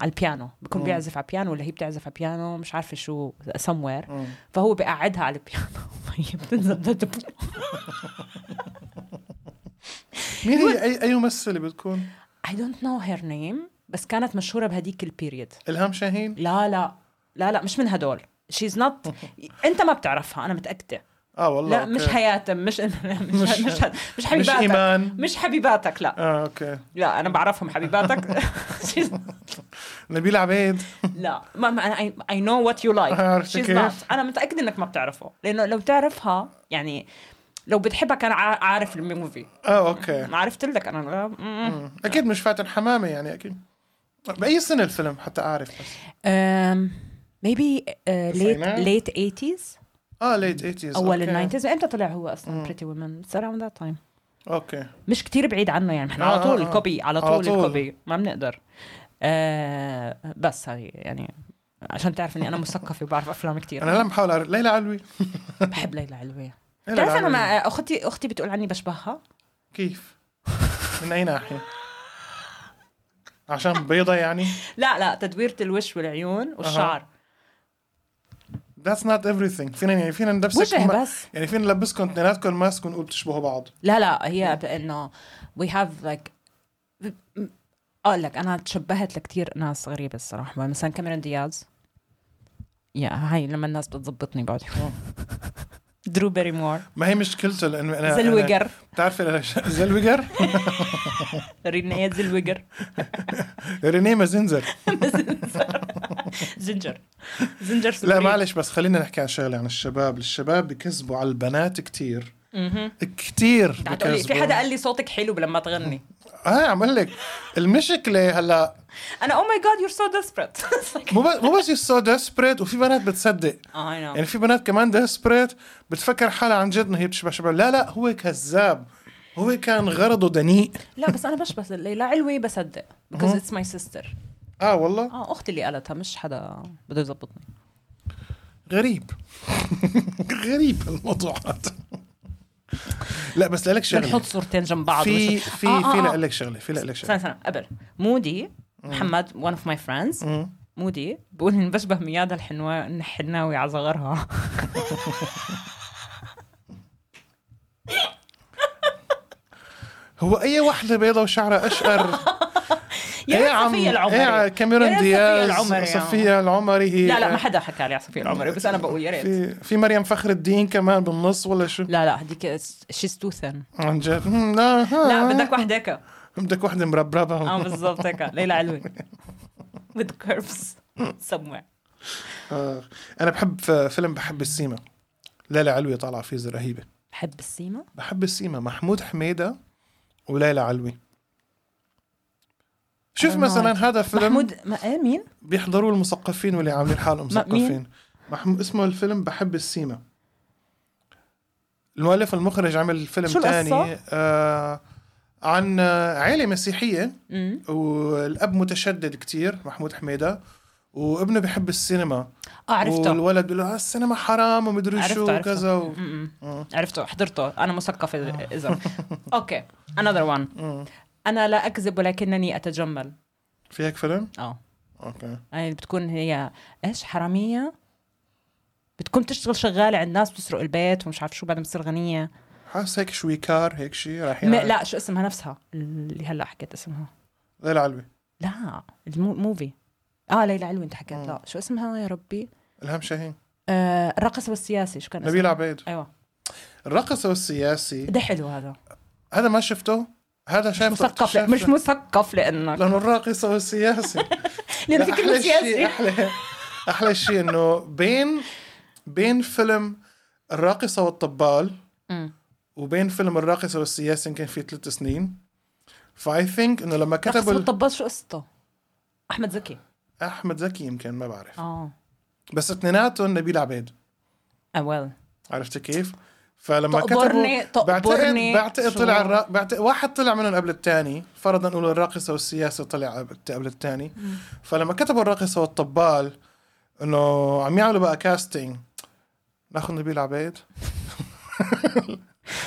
B: على البيانو بيكون
A: مم.
B: بيعزف على بيانو ولا هي بتعزف على بيانو مش عارفه شو somewhere
A: مم.
B: فهو بقعدها على البيانو وهي بتنزل
A: مين هي اي اي ممثله بتكون؟
B: I don't know her name بس كانت مشهوره بهديك البيريد
A: الهام شاهين؟
B: لا لا لا لا مش من هدول شيز نوت انت ما بتعرفها انا متاكده
A: اه والله
B: لا
A: أوكي.
B: مش حياتم مش مش
A: مش-
B: مش, مش
A: مش
B: حبيباتك
A: ايمان
B: مش حبيباتك لا
A: اه اوكي
B: لا انا بعرفهم حبيباتك She's-
A: نبيل عبيد
B: لا ما ما انا اي نو وات يو لايك
A: عرفت
B: شيز
A: كيف؟
B: نوت انا متاكده انك ما بتعرفه لانه لو تعرفها يعني لو بتحبها كان عا- عارف الموفي
A: اه اوكي
B: عرفت لك انا م-
A: مم. اكيد مش فاتن حمامه يعني اكيد باي سنه الفيلم حتى اعرف بس
B: أم، maybe uh, late
A: التسعينات؟
B: late 80s
A: اه ليت 80s
B: اول
A: أوكي.
B: ال 90s امتى طلع هو اصلا
A: مم.
B: بريتي وومن؟ صار around ذات تايم
A: اوكي
B: مش كتير بعيد عنه يعني احنا
A: آه،
B: على طول
A: آه، آه.
B: الكوبي على
A: على
B: طول
A: طول.
B: الكوبي ما بنقدر آه بس هاي يعني عشان تعرف اني انا مثقفه وبعرف افلام كتير
A: انا لما بحاول اعرف ليلى علوي
B: بحب ليلى علوي
A: ليلى
B: بتعرف انا
A: علوي.
B: ما اختي اختي بتقول عني بشبهها
A: كيف؟ من اي ناحيه؟ عشان بيضة يعني
B: لا لا تدويره الوش والعيون والشعر
A: that's not everything فينا يعني فينا نلبسك
B: وجه بس
A: يعني فينا نلبسكم اثنيناتكم ماسك ونقول بتشبهوا بعض
B: لا لا هي انه we have like اقول لك انا تشبهت لكتير ناس غريبه الصراحه مثلا كاميرون دياز يا هاي لما الناس بتظبطني بقعد درو بيريمور
A: ما هي مشكلته لانه انا أنا-
B: زلويجر
A: بتعرفي ليش- زلويجر
B: رينيا زلويجر
A: رينيه مازنزر
B: زنجر زنجر
A: لا
B: سوري.
A: معلش بس خلينا نحكي عن شغله عن الشباب الشباب بكذبوا على البنات كتير
B: مهم.
A: كتير
B: تعال تقولي، في
A: بكذبوا
B: حدا قال لي صوتك حلو لما تغني
A: اه عم اقول لك المشكله هلا
B: انا او ماي جاد يور سو ديسبريت
A: مو بس مو بس سو ديسبريت وفي بنات بتصدق
B: اي نو
A: يعني في بنات كمان ديسبريت بتفكر حالها عن جد انه هي بتشبه شباب لا لا هو كذاب هو كان غرضه دنيء
B: لا بس انا بشبه ليلى علوي بصدق بيكوز اتس ماي سيستر
A: اه والله
B: اه اختي اللي قالتها مش حدا بده يظبطني
A: غريب غريب الموضوع هذا لا بس لك
B: بنحط
A: شغله
B: صورتين جنب بعض
A: في
B: وش-
A: في
B: آه، آه،
A: في
B: آه.
A: لك شغله في لك
B: استنى
A: شغله
B: استنى قبل مودي محمد ون اوف ماي فريندز
A: مم.
B: مودي بقول اني بشبه ميادة الحنوا الحناوي على صغرها
A: هو اي وحده بيضة وشعرها اشقر
B: يا
A: ايه
B: ريت صفية العمري
A: ايه
B: يا
A: كاميرون
B: ريت
A: دياز
B: صفية العمري.
A: صفية العمري هي
B: لا لا ما حدا حكى لي على صفية العمري بس انا بقول يا ريت
A: آه، في في مريم فخر الدين كمان بالنص ولا شو
B: لا لا هذيك شيز تو ثن
A: عن جد مم، لا
B: لا
A: ها.
B: بدك واحدة هيك اه
A: بدك وحده مربربه
B: بالضبط هيك ليلى علوي with curves somewhere
A: آه. انا بحب ف- فيلم بحب السيما ليلى علوي طالعه فيه زي رهيبه
B: بحب السيما
A: بحب السيما محمود حميده وليلى علوي
B: I
A: شوف
B: don't know
A: مثلا
B: it.
A: هذا فيلم
B: محمود ما ايه مين؟
A: بيحضروه المثقفين واللي عاملين حالهم
B: ما- مين؟
A: مثقفين محم... اسمه الفيلم بحب السيما المؤلف المخرج عمل فيلم
B: شو القصة؟
A: تاني آه عن آه، عيلة مسيحية
B: مم.
A: والأب متشدد كتير محمود حميدة وابنه بحب السينما
B: اه عرفته
A: والولد بيقول له آه، السينما حرام ومدري شو
B: عرفته عرفته
A: وكذا و... آه.
B: مم.
A: مم.
B: عرفته حضرته انا مثقفة اذا اوكي another one
A: مم.
B: انا لا اكذب ولكنني اتجمل
A: في هيك فيلم؟
B: اه
A: اوكي
B: يعني بتكون هي ايش حرامية بتكون تشتغل شغالة عند ناس بتسرق البيت ومش عارف شو بعدين بتصير غنية
A: حاسس هيك شوي كار هيك شيء رايحين
B: م-
A: على-
B: لا شو اسمها نفسها اللي هلا حكيت اسمها
A: ليلى علوي
B: لا الموفي اه ليلى علوي انت حكيت لا شو اسمها يا ربي
A: الهام شاهين
B: آه الرقص والسياسي شو كان اسمها
A: نبيل عبيد
B: ايوه
A: الرقص السياسي
B: ده حلو هذا
A: هذا ما شفته هذا شايف
B: مثقف لا-
A: شايف-
B: مش مثقف لانك
A: لانه الراقص هو السياسي
B: لانه في
A: لا،
B: كلمه
A: أحلى شيء-
B: سياسي
A: احلى احلى شيء انه بين بين فيلم الراقصه والطبال
B: أمم.
A: وبين فيلم الراقصه والسياسي يمكن في ثلاث سنين فاي ثينك انه لما
B: رقص
A: كتبوا ال-
B: الطباخ شو قصته؟ احمد زكي
A: احمد زكي يمكن ما بعرف
B: اه
A: بس اثنيناتهم نبيل عبيد
B: ويل
A: عرفت كيف؟ فلما
B: تقبرني-
A: كتبوا بعتقد
B: تقبرني
A: بعتقد
B: شو؟
A: طلع الرا... بعتقد واحد طلع منهم قبل الثاني فرضا نقول الراقصه والسياسه طلع قبل الثاني فلما كتبوا الراقصه والطبال انه عم يعملوا بقى كاستنج ناخذ نبيل عبيد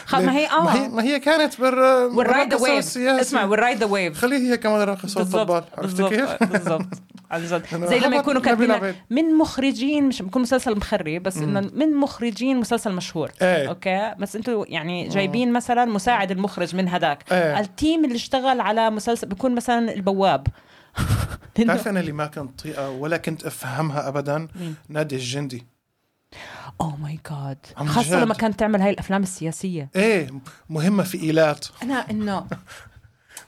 B: خ- ما هي
A: ما هي
B: اه
A: ما هي كانت بر
B: والرايد
A: بالراقصة
B: ويف
A: والسياسة.
B: اسمع والرايد ويف
A: خليه هي كمان الراقصه والطبال
B: بالضبط
A: عرفت كيف؟
B: بالضبط بالضبط عن جد
A: إنه
B: زي لما
A: هبط
B: يكونوا
A: نبيل
B: كاتبين
A: عبيد.
B: لك من مخرجين مش بكون مسلسل مخري بس انه من مخرجين مسلسل مشهور
A: ايه
B: اوكي بس انتوا يعني جايبين مثلا مساعد المخرج من هداك
A: آه. إيه.
B: التيم اللي اشتغل على مسلسل بيكون مثلا البواب لأنه-
A: بتعرف انا اللي ما كنت طيقه ولا كنت افهمها ابدا
B: مين؟
A: نادي الجندي
B: اوه ماي جاد
A: عن
B: خاصه
A: جد.
B: لما كانت تعمل هاي الافلام السياسيه
A: ايه مهمه في ايلات
B: انا انه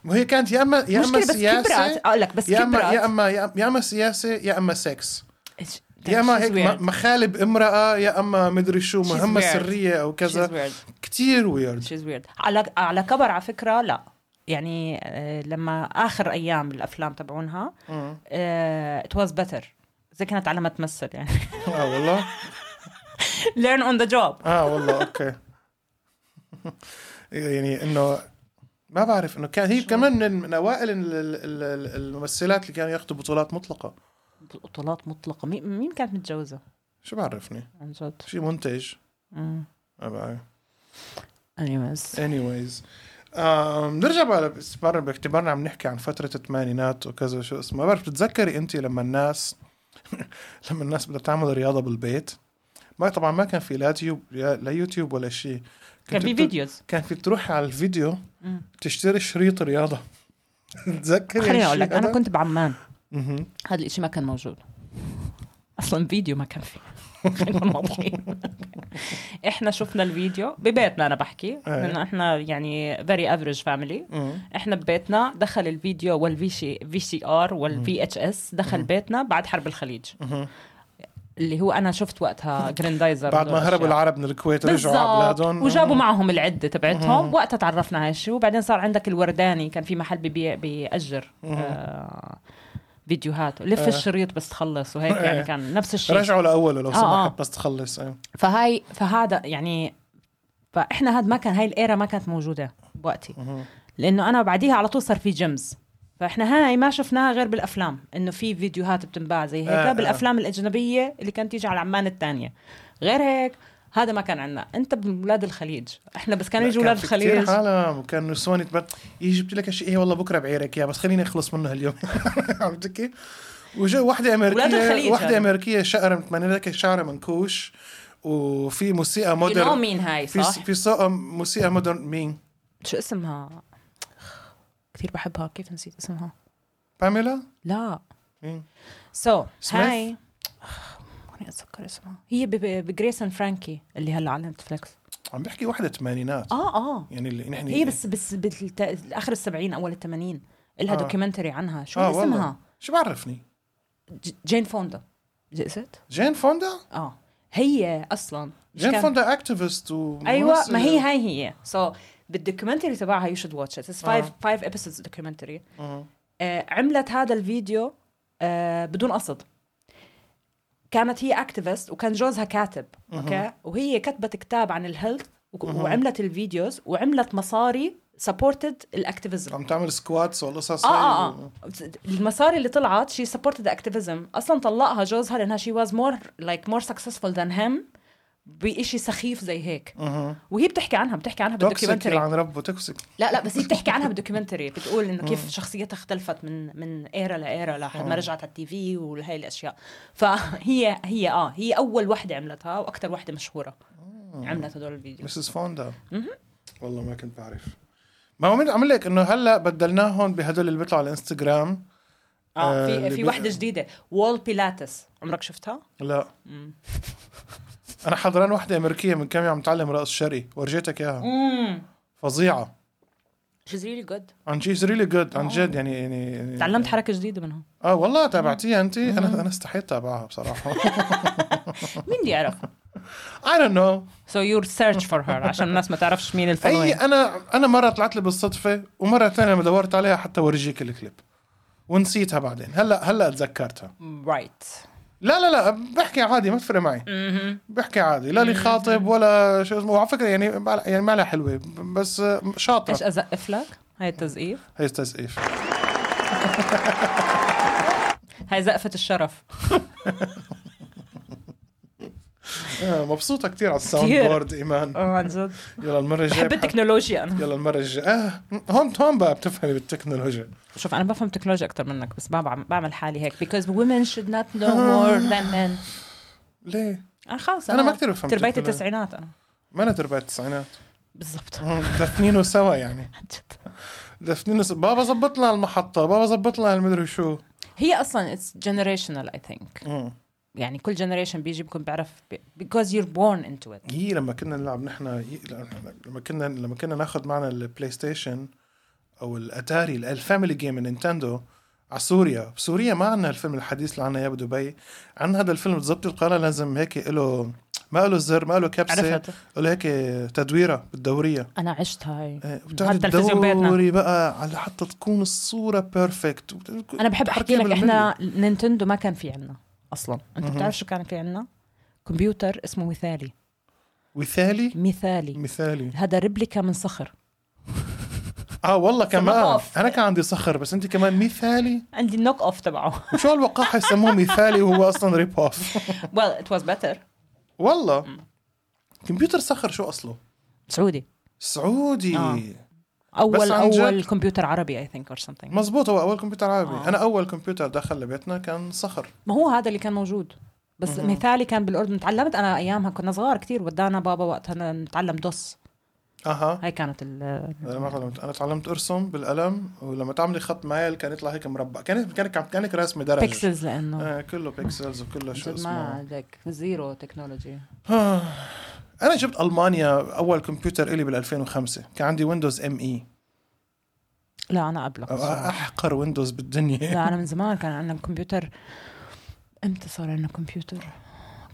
A: وهي كانت يا اما يا اما
B: مشكله بس
A: سياسه
B: كبرت اقول لك بس
A: يا اما
B: كبرت
A: يا اما يا اما سياسه يا اما سكس
B: It's-
A: يا اما
B: she's
A: هيك
B: طيب، weird.
A: م- مخالب امراه يا اما مدري شو
B: She's
A: مهمه
B: weird.
A: سريه او
B: She's
A: كذا
B: weird.
A: كتير ويرد
B: She's weird. على على كبر على فكره لا يعني آه، لما اخر ايام الافلام تبعونها آه، ات واز بيتر زي كانت على ما تمثل يعني
A: اه والله
B: ليرن اون ذا جوب
A: اه والله اوكي يعني انه ما بعرف انه كان هي كمان من, من اوائل ال- ال- ال- الممثلات اللي كانوا ياخذوا بطولات مطلقه
B: بطولات مطلقه مين مين كانت متجوزه
A: شو بعرفني
B: عن جد
A: شي منتج ما بعرف
B: انيويز
A: anyways آم، نرجع بقى بس مرة باعتبارنا عم نحكي عن فترة الثمانينات وكذا شو اسمه ما بعرف بتتذكري انت لما الناس لما الناس بدها تعمل رياضة بالبيت ما طبعا ما كان في لا يوتيوب لا يوتيوب ولا شيء
B: كان في فيديوز
A: كان في تروحي على الفيديو
B: مم.
A: تشتري شريط رياضة تتذكري
B: خليني اقول
A: هالشي
B: لك انا
A: هذا؟
B: كنت بعمان
A: مهم.
B: هذا الشيء ما كان موجود اصلا فيديو ما كان فيه خلينا نكون واضحين احنا شفنا الفيديو ببيتنا انا بحكي
A: إيه.
B: لانه احنا يعني فيري افريج فاميلي
A: مم.
B: احنا ببيتنا دخل الفيديو والفي في سي ار والفي اتش اس دخل بيتنا بعد حرب الخليج
A: مهم.
B: اللي هو انا شفت وقتها جريندايزر
A: بعد ما
B: وهدول
A: هربوا
B: الأشياء.
A: العرب من الكويت رجعوا على
B: بالظبط
A: بلادهم
B: وجابوا
A: مم.
B: معهم العده تبعتهم وقتها تعرفنا هاي الشيء وبعدين صار عندك الورداني كان في محل ببيع بيأجر آه فيديوهات لف الشريط بس تخلص وهيك يعني
A: إيه.
B: كان نفس الشيء
A: آه. رجعوا لاوله لو
B: آه، آه.
A: سمحت بس تخلص إيه.
B: فهاي فهذا يعني فاحنا هاد ما كان هاي الايرا ما كانت موجوده بوقتي
A: مهم.
B: لانه انا بعديها على طول صار في جيمز فاحنا هاي ما شفناها غير بالافلام انه في فيديوهات بتنباع زي هيك
A: آه، آه.
B: بالافلام الاجنبيه اللي كانت تيجي على عمان الثانيه غير هيك هذا ما كان عندنا انت من ولاد الخليج احنا بس كانوا
A: لا،
B: يجوا ولاد
A: في كتير
B: الخليج
A: عالم وكان نسوان يتبت يجي جبت لك شيء ايه والله بكره بعيرك اياه بس خليني اخلص منه هاليوم عرفت كيف؟ وجا وحده
B: ولاد
A: امريكيه
B: الخليج
A: وحده
B: هذا.
A: امريكيه شقره متمنى لك شعرها منكوش وفي موسيقى
B: يو
A: مودرن
B: مين هاي
A: في
B: صح؟
A: في صوت موسيقى مودرن مين؟
B: شو اسمها؟ كثير بحبها كيف نسيت اسمها؟
A: باميلا؟
B: لا
A: مين؟
B: سو
A: إيه. Smith؟
B: هاي ماني اتذكر اسمها هي بجريسون فرانكي اللي هلا على نتفلكس
A: عم بحكي وحده ثمانينات
B: اه اه
A: يعني اللي نحن
B: هي بس بس بالت... اخر السبعين اول الثمانين لها
A: آه.
B: دوكيومنتري عنها شو
A: آه،
B: اسمها؟
A: والله. شو بعرفني؟
B: ج- جين فوندا جئست؟
A: جين فوندا؟
B: اه هي اصلا مش
A: جين
B: كان-
A: فوندا اكتيفست
B: ايوه ما هي هاي هي سو so, بالدوكيومنتري تبعها يو شود واتش ات اتس فايف فايف ابيسودز دوكيومنتري آه، عملت هذا الفيديو آه بدون قصد كانت هي اكتيفست وكان جوزها كاتب اوكي وهي كتبت كتاب عن الهيلث وعملت الفيديوز وعملت مصاري سبورتد الاكتيفيزم
A: عم تعمل سكواتس والقصص
B: اه اه
A: هاي و-
B: اه المصاري اللي طلعت شي سبورتد اكتيفيزم اصلا طلقها جوزها لانها شي واز مور لايك مور سكسسفول ذان هيم بشيء سخيف زي هيك
A: مهم.
B: وهي بتحكي عنها بتحكي عنها
A: توكسيك
B: بالدوكيومنتري
A: يعني عن ربه توكسيك
B: لا لا بس هي بتحكي عنها بالدوكيومنتري بتقول انه كيف شخصيتها اختلفت من من ايرا لايرا لحد ما رجعت على التي في وهي الاشياء فهي هي اه هي اول وحده عملتها واكثر وحده مشهوره عملت هدول الفيديو
A: مسز فوندا والله ما كنت بعرف ما هو من عم لك انه هلا بدلناهم بهدول اللي بيطلعوا على الانستغرام
B: اه
A: آه،
B: في
A: اللي
B: في
A: بي-
B: وحده جديده وول بيلاتس عمرك شفتها؟
A: لا انا حضران وحده امريكيه من كم يوم متعلم رقص شرقي ورجيتك اياها
B: امم
A: فظيعه
B: شيز ريلي جود
A: عن جي ريلي جود عن جد يعني يعني يعني-
B: تعلمت حركه جديده منها
A: اه والله تابعتيها انت انا انا استحيت تابعها بصراحه
B: مين بدي اعرف
A: I don't know
B: سو يور سيرش فور هير عشان الناس ما تعرفش مين
A: اي
B: الفولوينج
A: انا انا مره طلعت لي بالصدفه ومره ثانيه لما دورت عليها حتى ورجيك الكليب ونسيتها بعدين هلا هلا تذكرتها
B: رايت
A: لا لا لا بحكي عادي ما بتفرق معي بحكي عادي لا لي خاطب ولا شو اسمه وعلى فكره يعني ما- يعني ما لها حلوه بس شاطره
B: ايش ازقف لك؟ هاي التزقيف
A: هي تزقيف
B: هاي زقفة الشرف
A: آه، مبسوطه كثير على الساوند
B: كتير.
A: بورد ايمان
B: اه عن جد
A: يلا المره الجايه
B: بحب
A: بحب-
B: التكنولوجيا انا
A: يلا المره الجايه آه هون هون بقى بتفهمي بالتكنولوجيا
B: شوف انا بفهم تكنولوجيا اكثر منك بس ما بعم- بعمل حالي هيك because women should not know more than men آه،
A: ليه؟
B: انا خلص
A: أنا ما كتير بفهم
B: تربيت
A: تكنولوجيا.
B: التسعينات انا
A: ما انا تربية التسعينات
B: بالضبط
A: دفنينه سوا يعني دفنينه سوا بابا زبط لنا المحطة بابا زبط لنا المدري شو
B: هي اصلا اتس جنريشنال اي ثينك
A: مم.
B: يعني كل جنريشن بيجي بكون بيعرف بي- because you're born into it
A: هي لما كنا نلعب نحن لما كنا لما كنا ناخذ معنا البلاي ستيشن او الاتاري ال- الفاميلي جيم من نينتندو على سوريا بسوريا ما عندنا الفيلم الحديث اللي عنا اياه بدبي عندنا هذا الفيلم بتزبط القناه لازم هيك له ما له زر ما له كبسه
B: عرفت
A: له هيك تدويره بالدوريه
B: انا عشت هاي
A: إيه،
B: على
A: بتعرف
B: التلفزيون بيتنا.
A: تدوري بقى على حتى تكون الصورة بيرفكت وبت-
B: انا بحب احكي
A: حركية
B: لك
A: بالملي.
B: احنا نينتندو ما كان في عنا اصلا انت بتعرف شو كان في عنا كمبيوتر اسمه مثالي
A: وثالي
B: مثالي
A: مثالي
B: هذا ريبليكا من صخر
A: اه والله كمان
B: نقف.
A: انا كان عندي صخر بس انت كمان مثالي
B: عندي النوك اوف تبعه
A: وشو هالوقاحه يسموه مثالي وهو اصلا ريب اوف
B: well it was better
A: والله كمبيوتر صخر شو اصله
B: سعودي
A: سعودي
B: آه.
A: بس
B: اول
A: عن جد-
B: اول كمبيوتر عربي اي ثينك اور something
A: مزبوط هو اول كمبيوتر عربي
B: آه.
A: انا اول كمبيوتر دخل لبيتنا كان صخر
B: ما هو هذا اللي كان موجود بس
A: مهم.
B: مثالي كان بالاردن تعلمت انا ايامها كنا صغار كتير ودانا بابا وقتها نتعلم دوس
A: اها
B: هاي كانت ال
A: انا ما تعلمت انا تعلمت ارسم بالقلم ولما تعملي خط مايل كان يطلع هيك مربع كانك كانك كانك راسمه درجه
B: بيكسلز لانه
A: آه كله بيكسلز وكله شو
B: جد ما
A: اسمه
B: عندك زيرو تكنولوجي
A: آه. انا جبت المانيا اول كمبيوتر الي بال 2005 كان عندي E. ويندوز ام اي
B: لا انا قبلك
A: آه،
B: بصراحة.
A: احقر ويندوز بالدنيا
B: لا انا من زمان كان عندنا كمبيوتر امتى صار عندنا كمبيوتر؟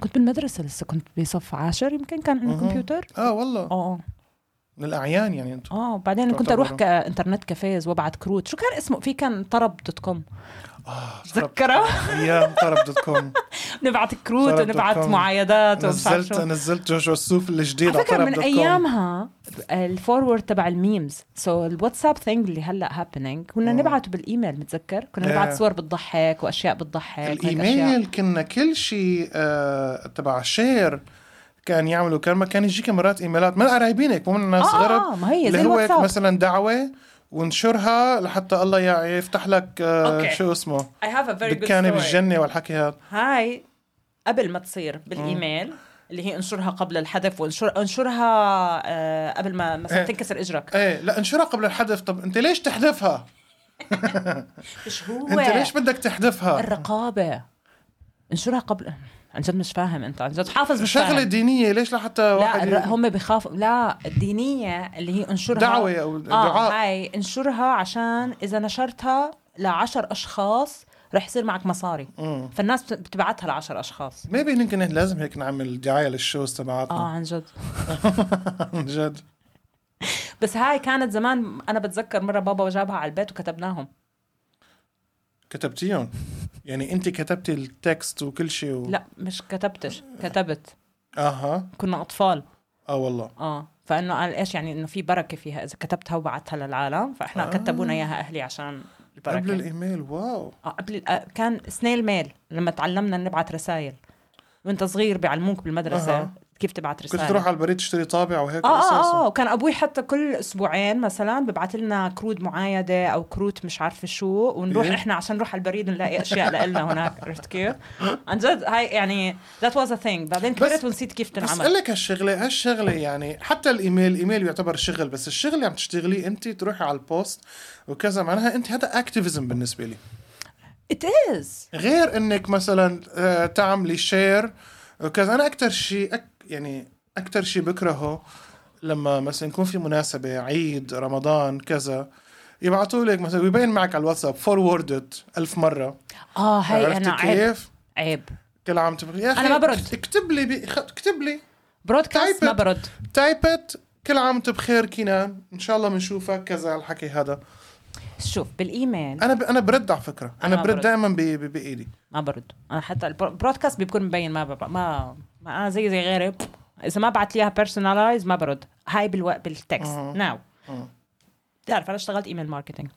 B: كنت بالمدرسه لسه كنت بصف عاشر يمكن كان عندنا
A: مهم.
B: كمبيوتر
A: اه والله
B: اه
A: من الاعيان يعني انتم
B: اه بعدين كنت اروح كانترنت كافيز وابعت كروت شو كان اسمه في كان طرب دوت كوم
A: آه،
B: تذكره
A: ايام طرب دوت كوم
B: نبعت كروت
A: طرب دوت
B: ونبعت
A: كوم.
B: معايدات ومش عارف
A: نزلت
B: شو
A: نزلت جوجو السوف الجديد
B: على
A: على
B: فكره
A: طرب
B: من
A: دوت كوم
B: ايامها الفورورد تبع الميمز سو الواتساب ثينج اللي هلا هابينينج كنا نبعته بالايميل متذكر كنا
A: إيه.
B: نبعت صور بتضحك واشياء بتضحك وهيك أشياء.
A: الايميل كنا كل شيء آه تبع شير كان يعملوا كان ما كان يجيك مرات ايميلات من قرايبينك مو من الناس غرب
B: اه, آه ما هي زي
A: اللي هو هيك
B: الواتساب
A: مثلا دعوه ونشرها لحتى الله يع- يفتح لك آه،
B: أوكي.
A: شو اسمه
B: I have a very good
A: دكانه
B: story.
A: بالجنه والحكي هذا
B: هاي قبل ما تصير بالايميل اللي هي انشرها قبل الحذف وانشر انشرها آه قبل ما مثلا
A: إيه.
B: تنكسر اجرك
A: ايه لا انشرها قبل الحذف طب انت ليش تحذفها؟
B: مش هو
A: انت ليش بدك تحذفها؟
B: الرقابه انشرها قبل عن جد مش فاهم انت عن جد حافظ مش
A: شغله
B: فاهم
A: دينيه ليش لحتى
B: لا
A: واحد
B: الر-
A: ي-
B: هم بخافوا لا الدينيه اللي هي انشرها
A: دعوه او
B: اه
A: دعاء
B: هاي انشرها عشان اذا نشرتها لعشر اشخاص رح يصير معك مصاري فالناس بت- بتبعتها لعشر اشخاص
A: ما بين يمكن لازم هيك نعمل دعايه للشوز
B: اه
A: تبعاتنا
B: عن جد
A: عن جد
B: بس هاي كانت زمان انا بتذكر مره بابا جابها على البيت وكتبناهم
A: كتبتيهم يعني انت كتبتي التكست وكل شيء و...
B: لا مش كتبتش كتبت
A: اها
B: كنا اطفال
A: اه والله
B: اه فانه قال ايش يعني انه في بركه فيها اذا كتبتها وبعتها للعالم فاحنا
A: آه.
B: آه. كتبونا اياها اهلي عشان البركه
A: قبل
B: قبل ال...
A: الايميل واو
B: آه قبل ال... آه كان سنيل ميل لما تعلمنا نبعت رسائل وانت صغير بيعلموك بالمدرسه
A: أها.
B: آه. كيف تبعت
A: كنت
B: رسائل
A: تروح على البريد تشتري طابع وهيك
B: اه
A: وقصص و-
B: اه اه وكان ابوي حتى كل اسبوعين مثلا ببعث لنا كروت معايده او كروت مش عارفه شو ونروح
A: إيه.
B: احنا عشان نروح على البريد ونلاقي اشياء لنا هناك عرفت كيف؟ عن جد هاي يعني ذات واز ا ثينج بعدين كبرت ونسيت كيف
A: بس
B: تنعمل
A: اقول لك هالشغله هالشغله يعني حتى الايميل الايميل يعتبر شغل بس الشغل اللي عم تشتغليه انت تروحي على البوست وكذا معناها انت هذا اكتيفيزم بالنسبه لي
B: ات از
A: غير انك مثلا آه، تعملي شير وكذا انا اكثر شيء أك... يعني اكثر شيء بكرهه لما مثلا يكون في مناسبه عيد رمضان كذا يبعثوا لك مثلا يبين معك على الواتساب فوروردد ألف مره
B: اه هي
A: عرفت
B: انا عيب
A: كيف؟
B: عيب
A: كل عام تقول يا اخي
B: أنا ما برد.
A: اكتب لي بي- خ- اكتب لي
B: برودكاست
A: طيب.
B: ما برد
A: تايبت كل عام وانت بخير كينان ان شاء الله بنشوفك كذا الحكي هذا
B: شوف بالايميل
A: انا ب... انا برد على فكره انا,
B: أنا
A: برد
B: برد.
A: دائما ب... ب... بايدي
B: ما برد انا حتى البرو- البرودكاست بيكون مبين ما ببقى ما, ما انا زي زي غيري اذا ما بعت لي اياها بيرسونالايز ما برد هاي بالو... بالتكست
A: آه.
B: ناو
A: آه.
B: بتعرف انا اشتغلت ايميل ماركتينج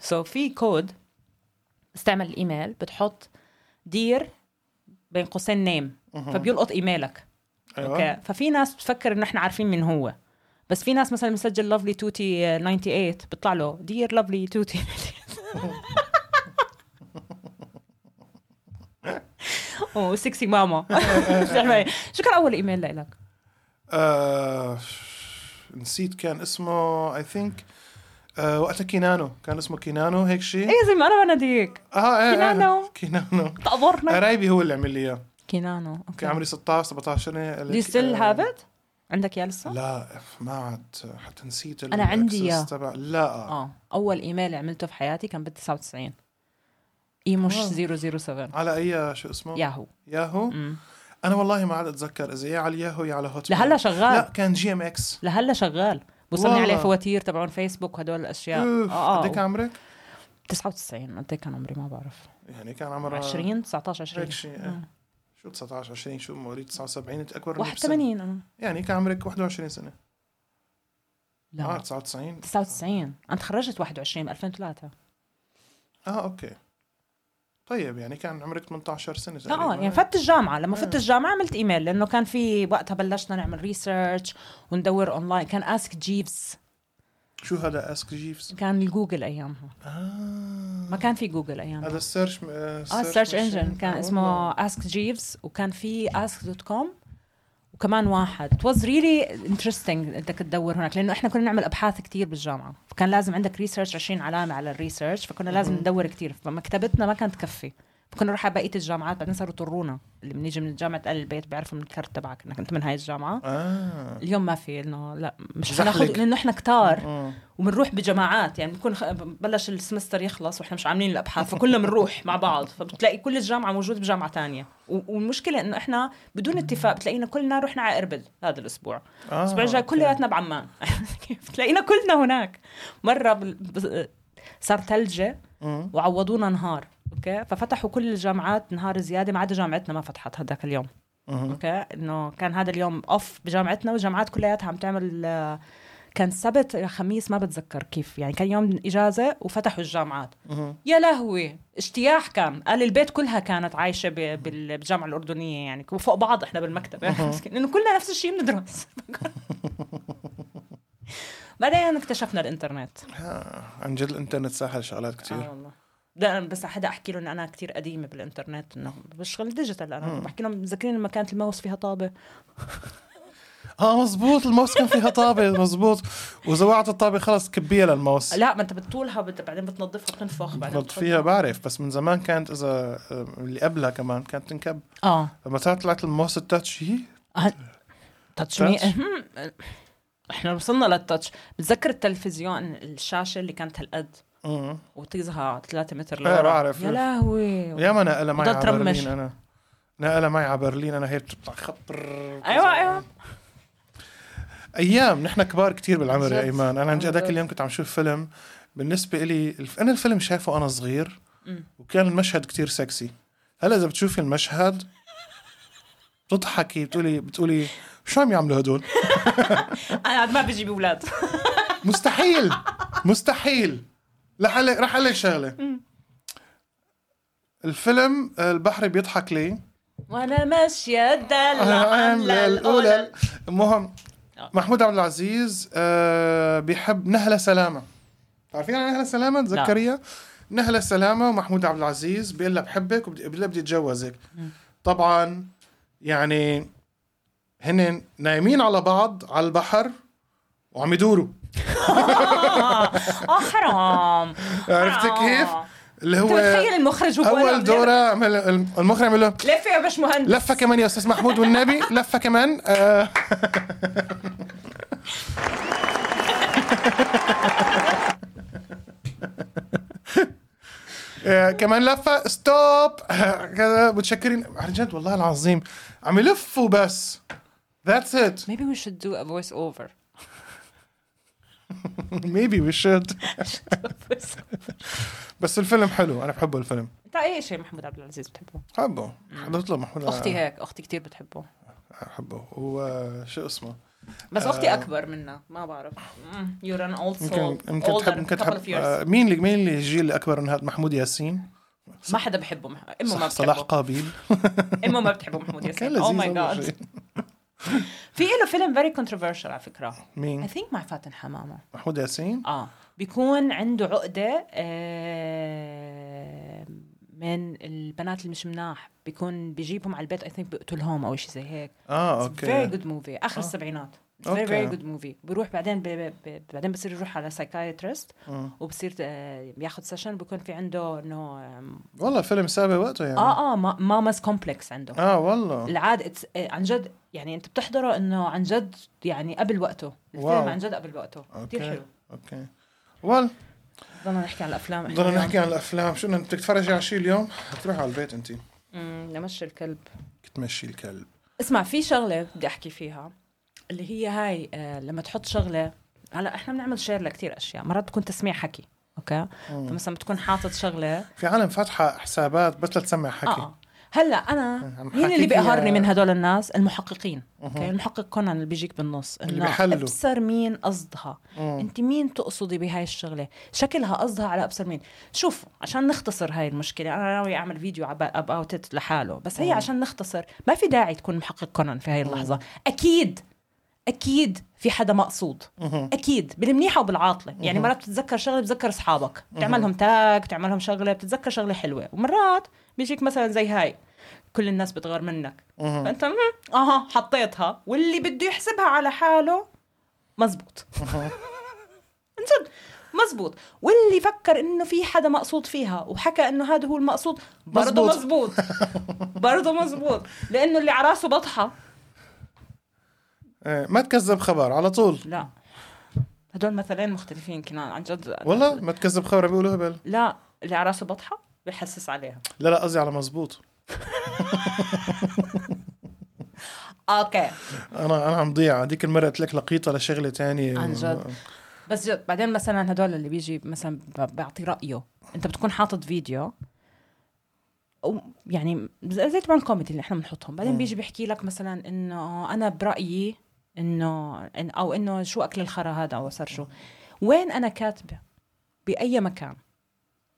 B: سو في كود بستعمل الايميل بتحط دير بين قوسين نيم فبيلقط ايميلك
A: أيوة.
B: اوكي ففي ناس بتفكر انه احنا عارفين مين هو بس في ناس مثلا مسجل لافلي توتي 98 بيطلع له دير لافلي توتي اوه سكسي ماما شو كان اول ايميل لك؟
A: آه... نسيت كان اسمه اي ثينك وقتها كينانو كان اسمه كينانو هيك شيء
B: ايه زي ما انا بناديك
A: اه ايه
B: كينانو.
A: كينانو
B: تقبرنا
A: قرايبي هو اللي عمل لي اياه
B: كينانو
A: كان
B: اوكي
A: عمري 16 17 سنه قال
B: دو
A: لك،
B: يو ستيل
A: آه،
B: هاف ات؟ عندك اياه لسه؟
A: لا ما عاد حتى نسيت
B: أنا عندي
A: الأكسس
B: إياه.
A: تبع لا
B: اه اول ايميل عملته في حياتي كان بال 99 ايموش
A: آه.
B: 007
A: على اي شو اسمه
B: ياهو
A: ياهو
B: أمم.
A: انا والله ما عاد اتذكر اذا يا على ياهو يا على هوت ميل.
B: لهلا شغال
A: لا كان جي ام اكس
B: لهلا شغال وصلني
A: والله.
B: عليه فواتير تبعون فيسبوك وهدول الاشياء
A: اوف
B: اه
A: قديك
B: اه
A: عمرك؟
B: 99 قد إيه كان عمري ما بعرف
A: يعني كان عمرها
B: 20 19 20
A: هيك شيء إيه.
B: آه.
A: شو 19 20 شو مواليد 79 انت اكبر مني بسنة.
B: 81 انا
A: يعني كان عمرك 21 سنه اه
B: لا
A: 99
B: 99 انا تخرجت 21 2003
A: اه اوكي طيب يعني كان عمرك 18 سنه
B: اه
A: تقريباً.
B: يعني فت الجامعه لما
A: آه.
B: فت الجامعه عملت ايميل لانه كان في وقتها بلشنا نعمل ريسيرش وندور اونلاين كان اسك جيفز
A: شو هذا اسك جيفز؟
B: كان الجوجل ايامها
A: اه
B: ما كان في جوجل ايامها
A: هذا آه، السيرش
B: اه السيرش انجن
A: آه،
B: كان اسمه اسك جيفز وكان في اسك دوت كوم وكمان واحد It was really interesting انك تدور هناك لانه احنا كنا نعمل ابحاث كتير بالجامعه فكان لازم عندك ريسيرش 20 علامه على الريسيرش فكنا لازم ندور كتير فمكتبتنا ما كانت تكفي فكنا نروح على بقيه الجامعات بعدين صاروا يطرونا اللي بنيجي من الجامعه قال البيت بيعرفوا من الكارت تبعك انك انت من هاي الجامعه
A: اه
B: اليوم ما في انه لا مش
A: زحلق.
B: حناخذ لانه احنا كتار
A: آه.
B: وبنروح بجماعات يعني بنكون خ... بلش السمستر يخلص واحنا مش عاملين الابحاث فكلنا بنروح مع بعض فبتلاقي كل الجامعه موجود بجامعه تانية و... والمشكله انه احنا بدون اتفاق بتلاقينا كلنا رحنا على اربد هذا الاسبوع
A: آه،
B: الاسبوع الجاي
A: أوكي.
B: كلياتنا بعمان كيف؟ بتلاقينا كلنا هناك مره بال... ب... صار ثلجه
A: مم.
B: وعوضونا نهار اوكي ففتحوا كل الجامعات نهار زياده ما عدا جامعتنا ما فتحت هذاك اليوم
A: مم.
B: اوكي انه كان هذا اليوم اوف بجامعتنا والجامعات كلياتها عم تعمل آه، كان سبت يا خميس ما بتذكر كيف يعني كان يوم اجازه وفتحوا الجامعات
A: مم.
B: يا لهوي اجتياح كان قال البيت كلها كانت عايشه ب- بال- بالجامعه الاردنيه يعني وفوق بعض احنا بالمكتب مسكين، انه كلنا نفس الشيء بندرس بعدين اكتشفنا الانترنت
A: آه، عن جد الانترنت سهل شغلات
B: اه
A: كثير
B: والله ده أنا بس حدا احكي له ان انا كتير قديمه بالانترنت انه بشتغل ديجيتال انا بحكي لهم مذكرين لما كانت الماوس فيها طابه
A: اه مزبوط الماوس كان فيها طابه مزبوط واذا وقعت الطابه خلص كبيه للماوس
B: لا ما انت بتطولها بت... بعدين بتنظفها بتنفخ بعدين
A: بتنط فيها بعرف بس من زمان كانت اذا آه، اللي قبلها كمان كانت تنكب
B: اه
A: لما طلعت الماوس التاتش هي
B: تاتش مي-
A: تاتش؟
B: أه، أهم. احنا وصلنا للتاتش بتذكر التلفزيون الشاشه اللي كانت هالقد
A: مم.
B: وتيزها 3 متر
A: إيه،
B: لورا
A: بعرف.
B: يا لهوي
A: ياما نقلها معي
B: بدها
A: على
B: ترمش.
A: برلين انا نقلها معي على برلين انا هي بتطلع خط ررر
B: ايوه
A: كذا.
B: ايوه
A: ايام نحن كبار كتير بالعمر يا
B: جد.
A: ايمان انا عن جد
B: عن
A: هذاك
B: جد.
A: اليوم كنت عم شوف فيلم بالنسبه لي الف... انا الفيلم شايفه انا صغير
B: أمم.
A: وكان المشهد كتير سكسي هلا اذا بتشوفي المشهد بتضحكي بتقولي بتقولي شو عم يعملوا هدول
B: انا عاد ما بجيب اولاد
A: مستحيل مستحيل رح أقول لك- رح اقول لك شغله الفيلم آه، البحر بيضحك لي
B: وانا ماشيه الدلع
A: عاملة
B: عامله
A: الأولى
B: الاولى
A: المهم
B: آه.
A: محمود عبد العزيز آه، بيحب نهلة سلامة تعرفين عن نهلة سلامة
B: نعم.
A: تذكريها نهلة سلامة ومحمود عبد العزيز بيقول لها بحبك وبدي بيقول لها بدي اتجوزك طبعا يعني هن نايمين على بعض على البحر وعم يدوروا
B: اه حرام
A: عرفتي
B: آه.
A: كيف؟ اللي
B: انت
A: هو
B: متخيل المخرج وهو
A: اول
B: عم
A: دوره
B: يعمل-
A: عمل المخرج عمل له
B: لف يا باش مهندس
A: لفه كمان يا استاذ محمود والنبي لفه كمان آه آه، كمان لفه ستوب كذا متشكرين عن جد والله العظيم عم يلفوا بس That's it.
B: Maybe we should do a voice over.
A: Maybe we should. بس الفيلم حلو، أنا بحبه الفيلم.
B: انت اي شيء محمود عبد العزيز بتحبه؟
A: بحبه. حضرت له محمود آه،
B: اختي هيك اختي كتير بتحبه
A: بحبه. وشو اسمه؟
B: بس اختي اكبر منا ما بعرف يور ان اولد
A: آه. يمكن يمكن تحب يمكن تحب آه،
B: years.
A: مين اللي مين اللي الجيل الاكبر من هذا محمود ياسين
B: ما حدا بحبه مح... امه ما
A: صح صلاح
B: بتحبه
A: قابيل
B: امه ما بتحبه محمود
A: كان
B: ياسين
A: لذيذ
B: او ماي
A: أول
B: جاد
A: شيء.
B: في له فيلم فيري controversial على فكره اي
A: مين
B: ثينك مع فاتن حمامه
A: محمود ياسين
B: اه بيكون عنده عقده آه من البنات اللي مش مناح بيكون بيجيبهم على البيت اي ثينك بيقتلهم او شيء زي هيك
A: اه
B: فيري
A: اوكي
B: جود موفي اخر السبعينات فيري
A: آه. أوكي.
B: فيري جود موفي بروح بعدين ب... ب... بعدين بصير يروح على سايكايترست
A: مم.
B: وبصير آه، ياخذ سيشن بيكون في عنده انه آم،
A: والله فيلم سابق وقته يعني اه,
B: اه اه ما- ماماز كومبلكس عنده
A: آه والله
B: العاد it's- آه، عن جد يعني انت بتحضره انه عن جد يعني قبل وقته الفيلم
A: واو.
B: عن جد قبل وقته كثير
A: أوكي.
B: حلو
A: اوكي وال
B: ضلنا نحكي عن الافلام إحنا
A: ضلنا
B: اليوم.
A: نحكي عن الافلام شو بدنا- بدك تتفرجي على شيء اليوم تروح على البيت انت
B: أمم، نمشي الكلب
A: تمشي الكلب
B: اسمع في شغله بدي احكي فيها اللي هي هاي آه لما تحط شغله هلا احنا بنعمل شير لكثير اشياء مرات بتكون تسميع حكي اوكي فمثلا بتكون حاطط شغله
A: في عالم فاتحه حسابات بس لتسمع حكي
B: اه هلا انا
A: عم
B: مين
A: حكي
B: اللي
A: فيها-
B: بيقهرني من هدول الناس المحققين اوكي المحقق كونان اللي بيجيك بالنص
A: اللي
B: إنه
A: بيحلوا.
B: ابصر مين قصدها
A: Mm.
B: انت مين تقصدي بهاي الشغله شكلها قصدها على ابصر مين شوف عشان نختصر هاي المشكله انا ناوي اعمل فيديو اباوت ات لحاله بس هي عشان نختصر ما في داعي تكون محقق كونان في هاي اللحظه اكيد اكيد في حدا مقصود اكيد بالمنيحه وبالعاطله يعني مرات بتتذكر شغله بتذكر اصحابك بتعملهم تاج بتعملهم شغله بتتذكر شغله حلوه ومرات بيجيك مثلا زي هاي كل الناس بتغار منك فانت مم، اها حطيتها واللي بده يحسبها على حاله مزبوط عن جد مزبوط واللي فكر انه في حدا مقصود فيها وحكى انه هذا هو المقصود برضه
A: مزبوط.
B: مزبوط برضه مزبوط لانه اللي على راسه بطحه
A: آه، ما تكذب خبر على طول
B: لا هدول مثلين مختلفين كنان عن جد
A: والله ما تكذب خبر بيقولوا هبل
B: لا اللي على راسه بطحه بحسس عليها
A: لا لا قصدي على مزبوط
B: اوكي
A: انا انا عم ضيع هذيك المره قلت لك لقيطه لشغله تانية
B: عن جد. بس جد بعدين مثلا هدول اللي بيجي مثلا ب- بيعطي رايه انت بتكون حاطط فيديو أو يعني زي زي تبع الكوميدي اللي احنا بنحطهم بعدين بيجي بيحكي لك مثلا انه انا برايي انه إن او انه شو اكل الخرا هذا او صار شو وين انا كاتبه باي مكان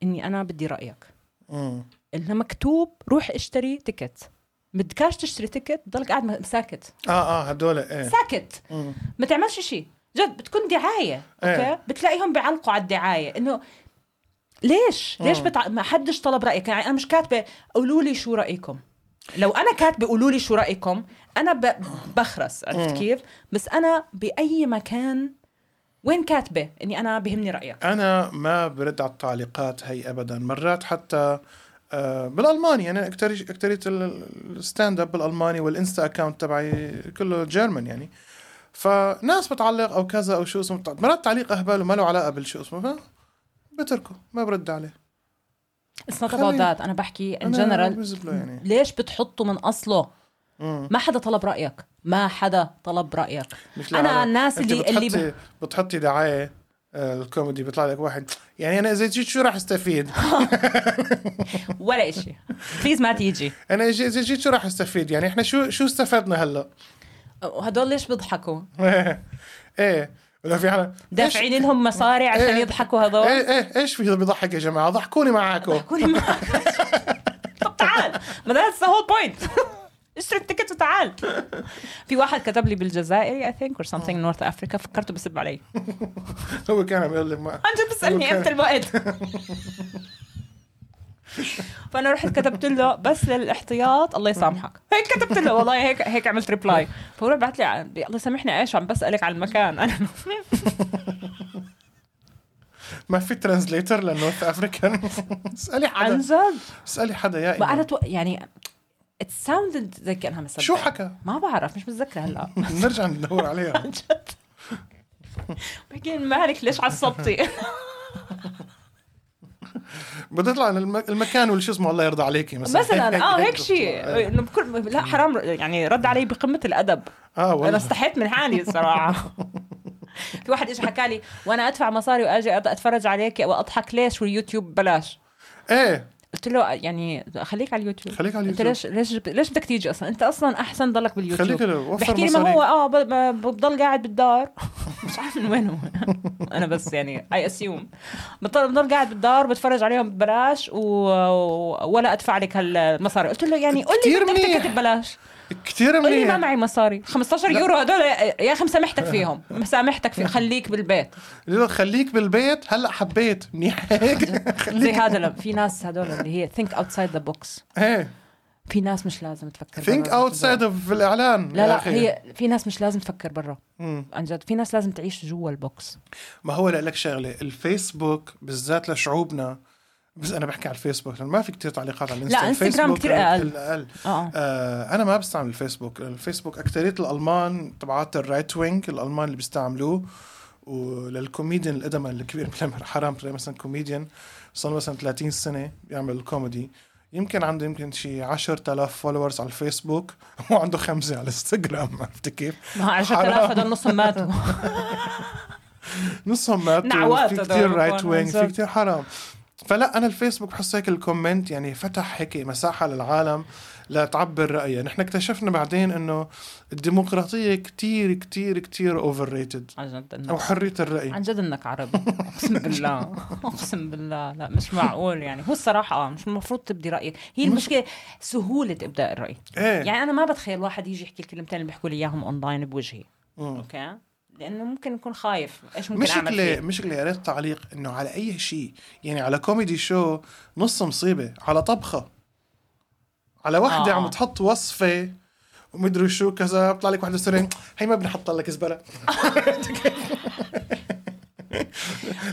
B: اني انا بدي رايك
A: مم.
B: انه مكتوب روح اشتري تيكت بدكاش تشتري تيكت بضلك قاعد م- ساكت
A: اه اه هدول ايه
B: ساكت
A: مم.
B: ما تعملش شيء جد بتكون دعايه اوكي
A: إيه.
B: بتلاقيهم بيعلقوا على الدعايه انه ليش ليش بتع... ما حدش طلب رايك يعني انا مش كاتبه قولوا لي شو رايكم لو انا كاتبه قولوا لي شو رايكم انا ب... بخرس
A: إيه.
B: عرفت كيف بس انا باي مكان وين كاتبه اني انا بهمني رايك
A: انا ما برد على التعليقات هي ابدا مرات حتى آه، بالالماني انا اكتريت اكتريت ال- ال- الستاند اب بالالماني والانستا اكاونت تبعي كله جيرمن يعني فناس بتعلق او كذا او شو اسمه بتع- مرات تعليق اهبل وما له علاقه بالشو اسمه ما بتركه ما برد عليه
B: It's not about
A: خلي-
B: that انا بحكي ان
A: أنا
B: جنرال
A: بزبله يعني
B: ليش بتحطه من اصله
A: مم.
B: ما حدا طلب رايك ما حدا طلب رايك
A: مثل
B: انا
A: على-
B: الناس
A: أنت
B: اللي اللي ب...
A: بتحطي بتحطي دعايه آه، الكوميدي بيطلع لك واحد يعني انا اذا جيت شو راح استفيد؟
B: ولا شيء بليز ما تيجي
A: انا إج- اذا جيت شو راح استفيد؟ يعني احنا شو شو استفدنا هلا؟
B: وهدول ليش بيضحكوا
A: ايه إيه، ولا في حدا إيش-
B: دافعين لهم مصاري عشان
A: إيه.
B: يضحكوا هذول
A: ايه ايه ايش في بيضحك يا جماعه؟ ضحكوني معاكم
B: كوني معك طب تعال ما ذاتس ذا هول بوينت اشتري التيكت وتعال في واحد كتب لي بالجزائري اي ثينك اور سمثينج نورث افريكا فكرته بسب علي
A: هو كان عم يقول لي ما-
B: انت بتسالني امتى الوقت فانا رحت كتبت له بس للاحتياط الله يسامحك هيك كتبت له والله هيك هيك عملت ريبلاي فهو راح بعت لي عن- الله يسامحني ايش عم بسالك على المكان انا
A: ما في ترانزليتر لنورث افريكان اسالي
B: عن
A: حدا
B: جد
A: اسالي حدا يا
B: ما انا
A: إيمان.
B: تو... يعني ات ساوندد زي كانها مصدق
A: شو حكى؟
B: ما بعرف مش متذكره هلا
A: نرجع ندور عليها
B: عن جد بحكي مالك ليش عصبتي
A: بدي اطلع عن الم- المكان والشو اسمه الله يرضى عليكي مثلا
B: مثلا اه هيك شيء
A: بتطلع.
B: انه بكل لا حرام يعني رد علي بقمه الادب
A: اه
B: انا
A: والله
B: استحيت من حالي الصراحه في واحد اجى حكى لي وانا ادفع مصاري واجي أت- اتفرج عليك واضحك ليش واليوتيوب بلاش
A: ايه
B: قلت له يعني خليك على اليوتيوب
A: خليك على
B: انت
A: اليوتيوب
B: ليش ليش جب- ليش بدك تيجي اصلا انت اصلا احسن ضلك
A: خليك
B: باليوتيوب
A: وفر
B: بحكي لي ما هو
A: مصاري
B: اه ب- ب- بضل قاعد بالدار مش عارف من وين هو انا بس يعني اي اسيوم بضل بضل قاعد بالدار بتفرج عليهم ببلاش و... و- ولا ادفع لك هالمصاري قلت له يعني قول لي
A: كتير
B: بدك
A: منيح.
B: تكتب ببلاش
A: كثير
B: قول لي ما
A: منيح
B: معي مصاري 15
A: لا.
B: يورو هدول يا اخي مسامحتك فيهم مسامحتك فيهم خليك بالبيت
A: قال له خليك بالبيت هلا حبيت منيح هيك
B: زي هذا لما- في ناس هدول اللي هي ثينك اوتسايد ذا بوكس
A: ايه
B: في ناس مش لازم تفكر
A: ثينك
B: برا.
A: اوتسايد اوف الاعلان
B: لا
A: يا
B: لا
A: أخي.
B: هي في ناس مش لازم تفكر برا
A: مم.
B: عن جد في ناس لازم تعيش جوا البوكس
A: ما هو لك شغله الفيسبوك بالذات لشعوبنا بس انا بحكي على الفيسبوك لأن ما في كتير تعليقات على الانستا
B: لا، انستغرام
A: الفيسبوك
B: كتير
A: ال-
B: أقل.
A: ال- اقل
B: اه
A: آه انا ما بستعمل الفيسبوك الفيسبوك اكثريه الالمان تبعات الرايت وينج الالمان اللي بيستعملوه وللكوميديان الادمى الكبير بلا- حرام تلاقي مثلا كوميديان صار له مثلا 30 سنه يعمل كوميدي يمكن عنده يمكن شي 10000 فولورز على الفيسبوك وعنده خمسه على الانستغرام عرفت كيف؟
B: ما هو 10000 هدول نصهم ماتوا
A: نصهم ماتوا
B: نعوات
A: في
B: هدول
A: كثير
B: بكون
A: رايت وينج في
B: بالضبط.
A: كثير حرام فلا انا الفيسبوك بحس هيك الكومنت يعني فتح هيك مساحه للعالم لتعبر رايها نحن اكتشفنا بعدين انه الديمقراطيه كثير كثير كثير اوفر ريتد
B: عن جد
A: او
B: انك
A: حريه الراي
B: عن جد انك عربي اقسم بالله اقسم بالله لا مش معقول يعني هو الصراحه آه، مش المفروض تبدي رايك هي المشكله سهوله ابداء الراي
A: ايه
B: يعني انا ما بتخيل واحد يجي يحكي الكلمتين اللي بيحكوا لي اياهم اونلاين بوجهي
A: مم.
B: اوكي لانه ممكن يكون خايف ايش ممكن اعمل
A: مشكلة
B: فيه
A: مشكلة يا ريت تعليق انه على اي شيء يعني على كوميدي شو نص مصيبة على طبخة على وحدة
B: آه.
A: عم تحط وصفة ومدري شو كذا بيطلع لك وحدة سرين هي ما بنحط لك زبالة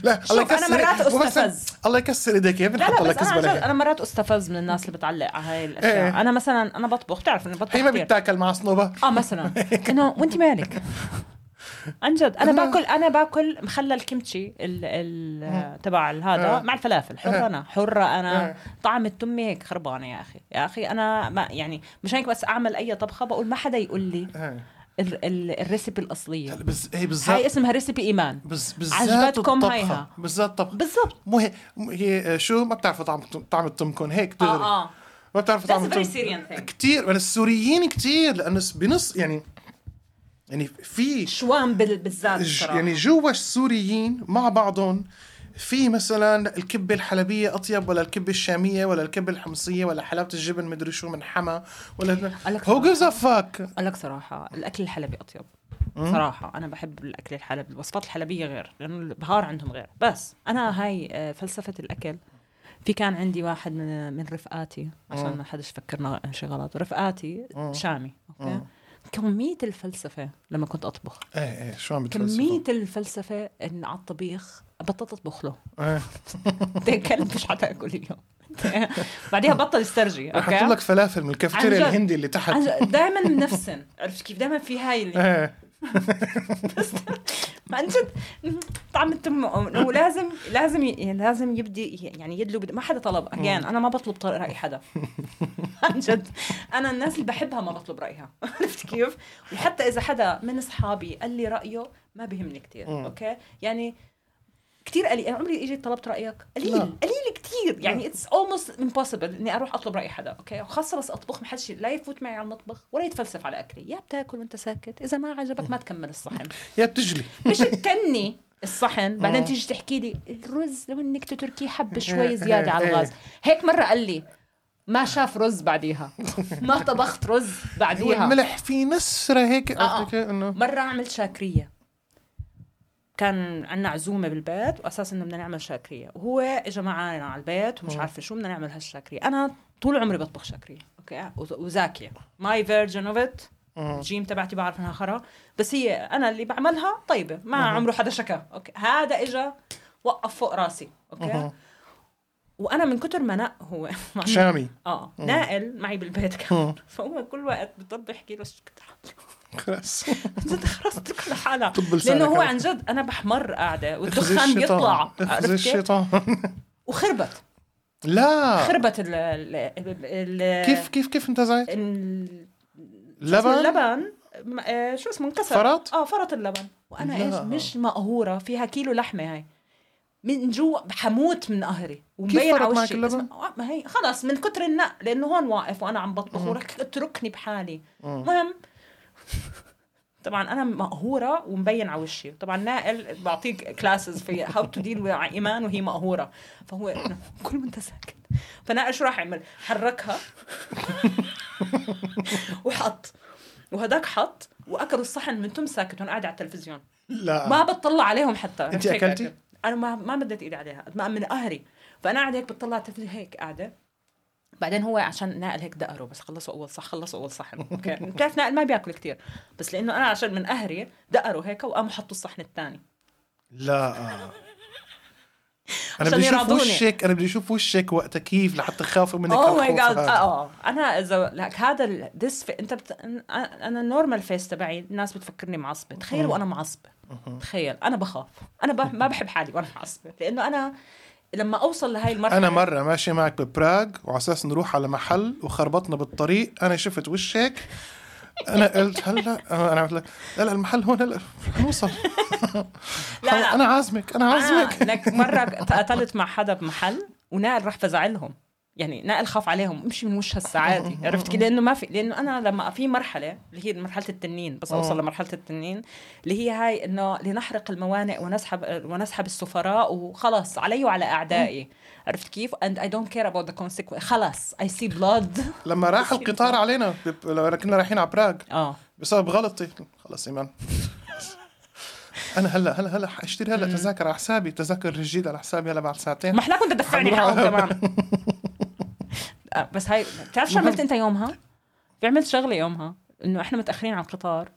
A: لا الله
B: شوف، أنا
A: يكسر
B: مرات
A: وبس-
B: أستفز.
A: الله يكسر ايدك يا
B: لا
A: بنحط
B: لا
A: لك
B: بس انا عن جد
A: زبالة
B: انا مرات استفز من الناس اللي بتعلق على هاي الاشياء
A: إيه.
B: انا مثلا انا بطبخ بتعرف اني بطبخ
A: هي ما
B: كتير.
A: بتاكل مع صنوبر
B: اه مثلا انه وانت مالك عن جد انا باكل انا باكل مخلل كيمتشي ال ال تبع
A: آه.
B: هذا مع الفلافل
A: آه.
B: حره انا حره
A: آه.
B: انا طعم التمي هيك خربانه يا اخي يا اخي انا ما يعني مش هيك بس اعمل اي طبخه بقول ما حدا يقول لي
A: إيه.
B: ال- ال- الريسبي الاصليه
A: بس آه، هي
B: هاي
A: بالذات
B: اسمها ريسبي ايمان
A: بس بالذات
B: عجبتكم
A: الطبخة.
B: هيها.
A: بالذات الطبخة
B: بالضبط
A: مو هي مو هي آه، شو ما بتعرفوا طعم طعم التمكن هيك دغري
B: اه اه
A: ما بتعرفوا
B: That's
A: طعم
B: a very
A: التمكن
B: Syrian thing
A: كثير بس السوريين كثير لانه س- بنص يعني يعني في
B: شوام بال- بالذات
A: ج-
B: الصراحه
A: يعني جوا السوريين مع بعضهم في مثلا الكبة الحلبية أطيب ولا الكبة الشامية ولا الكبة الحمصية ولا حلاوة الجبن مدري شو من حما ولا
B: لك
A: هو جيفز فاك
B: اقول لك صراحه الاكل الحلبي اطيب صراحه انا بحب الاكل الحلبي الوصفات الحلبيه غير لانه البهار عندهم غير بس انا هاي آه، فلسفه الاكل في كان عندي واحد من من رفقاتي عشان ما حدش فكرنا شي غلط رفقاتي شامي اوكي كمية الفلسفة لما كنت أطبخ
A: ايه ايه شو عم بتفلسفوا؟
B: كمية الفلسفة إن على الطبيخ بطلت أطبخ له
A: إيه.
B: أنت كلب مش حتاكل اليوم بعديها بطل يسترجي
A: رح احط لك
B: أوكي
A: فلافل من الكافتيريا
B: عن جد.
A: الهندي اللي تحت
B: دائما منفسن عرفت كيف دائما في هاي اللي
A: ايه
B: ما عن جد طعم التم ولازم لازم ي- لازم يبدي يعني يدلو ما حدا طلب اجان انا ما بطلب طر- راي حدا عن جد انا الناس اللي بحبها ما بطلب رايها عرفت كيف؟ وحتى اذا حدا من اصحابي قال لي رايه ما بيهمني كثير اوكي؟ يعني كثير قليل انا عمري اجيت طلبت رايك قليل
A: لا.
B: قليل كثير يعني اتس اولموست امبوسيبل اني اروح اطلب راي حدا اوكي وخاصه بس اطبخ ما حدش لا يفوت معي على المطبخ ولا يتفلسف على اكلي يا بتاكل وانت ساكت اذا ما عجبك ما تكمل الصحن
A: يا بتجلي
B: مش تتني الصحن بعدين تيجي تحكي لي الرز لو انك تتركيه حبه شوي زياده على الغاز هيك مره قال لي ما شاف رز بعديها ما طبخت رز
A: هو
B: بعديها
A: الملح في نسرة هيك
B: آه.
A: عرفت كيف انه
B: مره عملت شاكريه كان عنا عزومه بالبيت واساس انه بدنا نعمل شاكريه وهو اجى معنا على البيت ومش عارفه شو بدنا نعمل هالشاكريه انا طول عمري بطبخ شاكريه اوكي وز- وزاكيه ماي فيرجن اوف ات الجيم تبعتي بعرف انها خرا بس هي انا اللي بعملها طيبه ما عمره حدا شكا اوكي هذا اجى وقف فوق راسي اوكي
A: أها.
B: وانا من كتر ما نق هو مع-
A: شامي
B: اه ناقل معي بالبيت
A: مم.
B: كمان فهو كل وقت بضل بحكي له شو كتر
A: خلص
B: جد خلص تكل حالها
A: طب لسانك
B: لانه هو
A: هلا.
B: عن جد انا بحمر قاعده
A: اخزي
B: والدخان
A: الشيطان.
B: بيطلع
A: اخزي
B: عرفت كيف؟
A: الشيطان
B: وخربت
A: لا
B: خربت ال ال- ال- ال-
A: كيف كيف كيف انت زي
B: إيه، ال-
A: لبن
B: اللبن م- آه، شو اسمه انكسر
A: فرط؟
B: اه فرط اللبن وانا
A: لا.
B: ايش مش مقهوره فيها كيلو لحمه هاي من جوا حموت من قهري
A: فرط معك
B: وشي.
A: اللبن؟
B: اسمع- آه، ما هي خلص من كتر النق لانه هون واقف وانا عم بطبخ ولك اتركني بحالي
A: أه.
B: المهم طبعا انا مقهوره ومبين على وشي طبعا نائل بعطيك كلاسز في هاو تو ديل مع ايمان وهي مقهوره فهو إنه كل ما انت ساكت فنائل شو راح يعمل حركها وحط وهداك حط واكلوا الصحن من تم ساكت وانا قاعده على التلفزيون
A: لا
B: ما بتطلع عليهم حتى
A: أنت
B: هيك
A: آه. أكلتي؟
B: أكل. انا ما ما بدت ايدي عليها ما من قهري فانا قاعده هيك بتطلع على التلفزيون هيك قاعده بعدين هو عشان نائل هيك دقره بس خلصوا اول صح خلصوا اول صحن اوكي بتعرف نائل ما بياكل كتير بس لانه انا عشان من قهري دقروا هيك وقاموا حطوا الصحن الثاني
A: لا انا
B: عشان
A: بدي اشوف
B: يراضوني.
A: وشك انا بدي اشوف وشك وقتها كيف لحتى خاف منك
B: اوه ماي
A: هالخوف
B: جاد
A: هذا.
B: اه انا اذا لك هذا ال- this fi- انت بت... انا النورمال فيس تبعي الناس بتفكرني معصبه تخيل وانا معصبه تخيل انا بخاف انا ب... ما بحب حالي وانا معصبه لانه انا لما اوصل لهي المرحله
A: انا مره ماشي معك ببراغ وعلى اساس نروح على محل وخربطنا بالطريق انا شفت وشك انا قلت هلا انا عملت لك لا لا المحل هون هلا نوصل
B: لا، لا. آه.
A: انا عازمك انا عازمك
B: أنا لك مرة تقاتلت مع حدا بمحل ونائل راح فزعلهم يعني نائل خاف عليهم امشي من وش هالسعادة عرفت كيف لانه ما في لانه انا لما في مرحله اللي هي مرحله التنين بس اوصل لمرحله التنين اللي هي هاي انه لنحرق الموانئ ونسحب ونسحب السفراء وخلص علي وعلى اعدائي عرفت كيف and I don't care about the consequence خلص I see blood
A: لما راح القطار علينا بب- لما كنا رايحين على براغ
B: اه
A: بسبب غلطي خلص ايمان انا هلا هلا هلا حاشتري هلا تذاكر على حسابي تذاكر الجديد على حسابي هلا بعد ساعتين
B: ما حلاك وانت تدفعني
A: حنروح
B: حقهم
A: على-
B: كمان آه، بس هاي بتعرف شو عملت انت يومها؟ عملت شغله يومها انه احنا متاخرين على القطار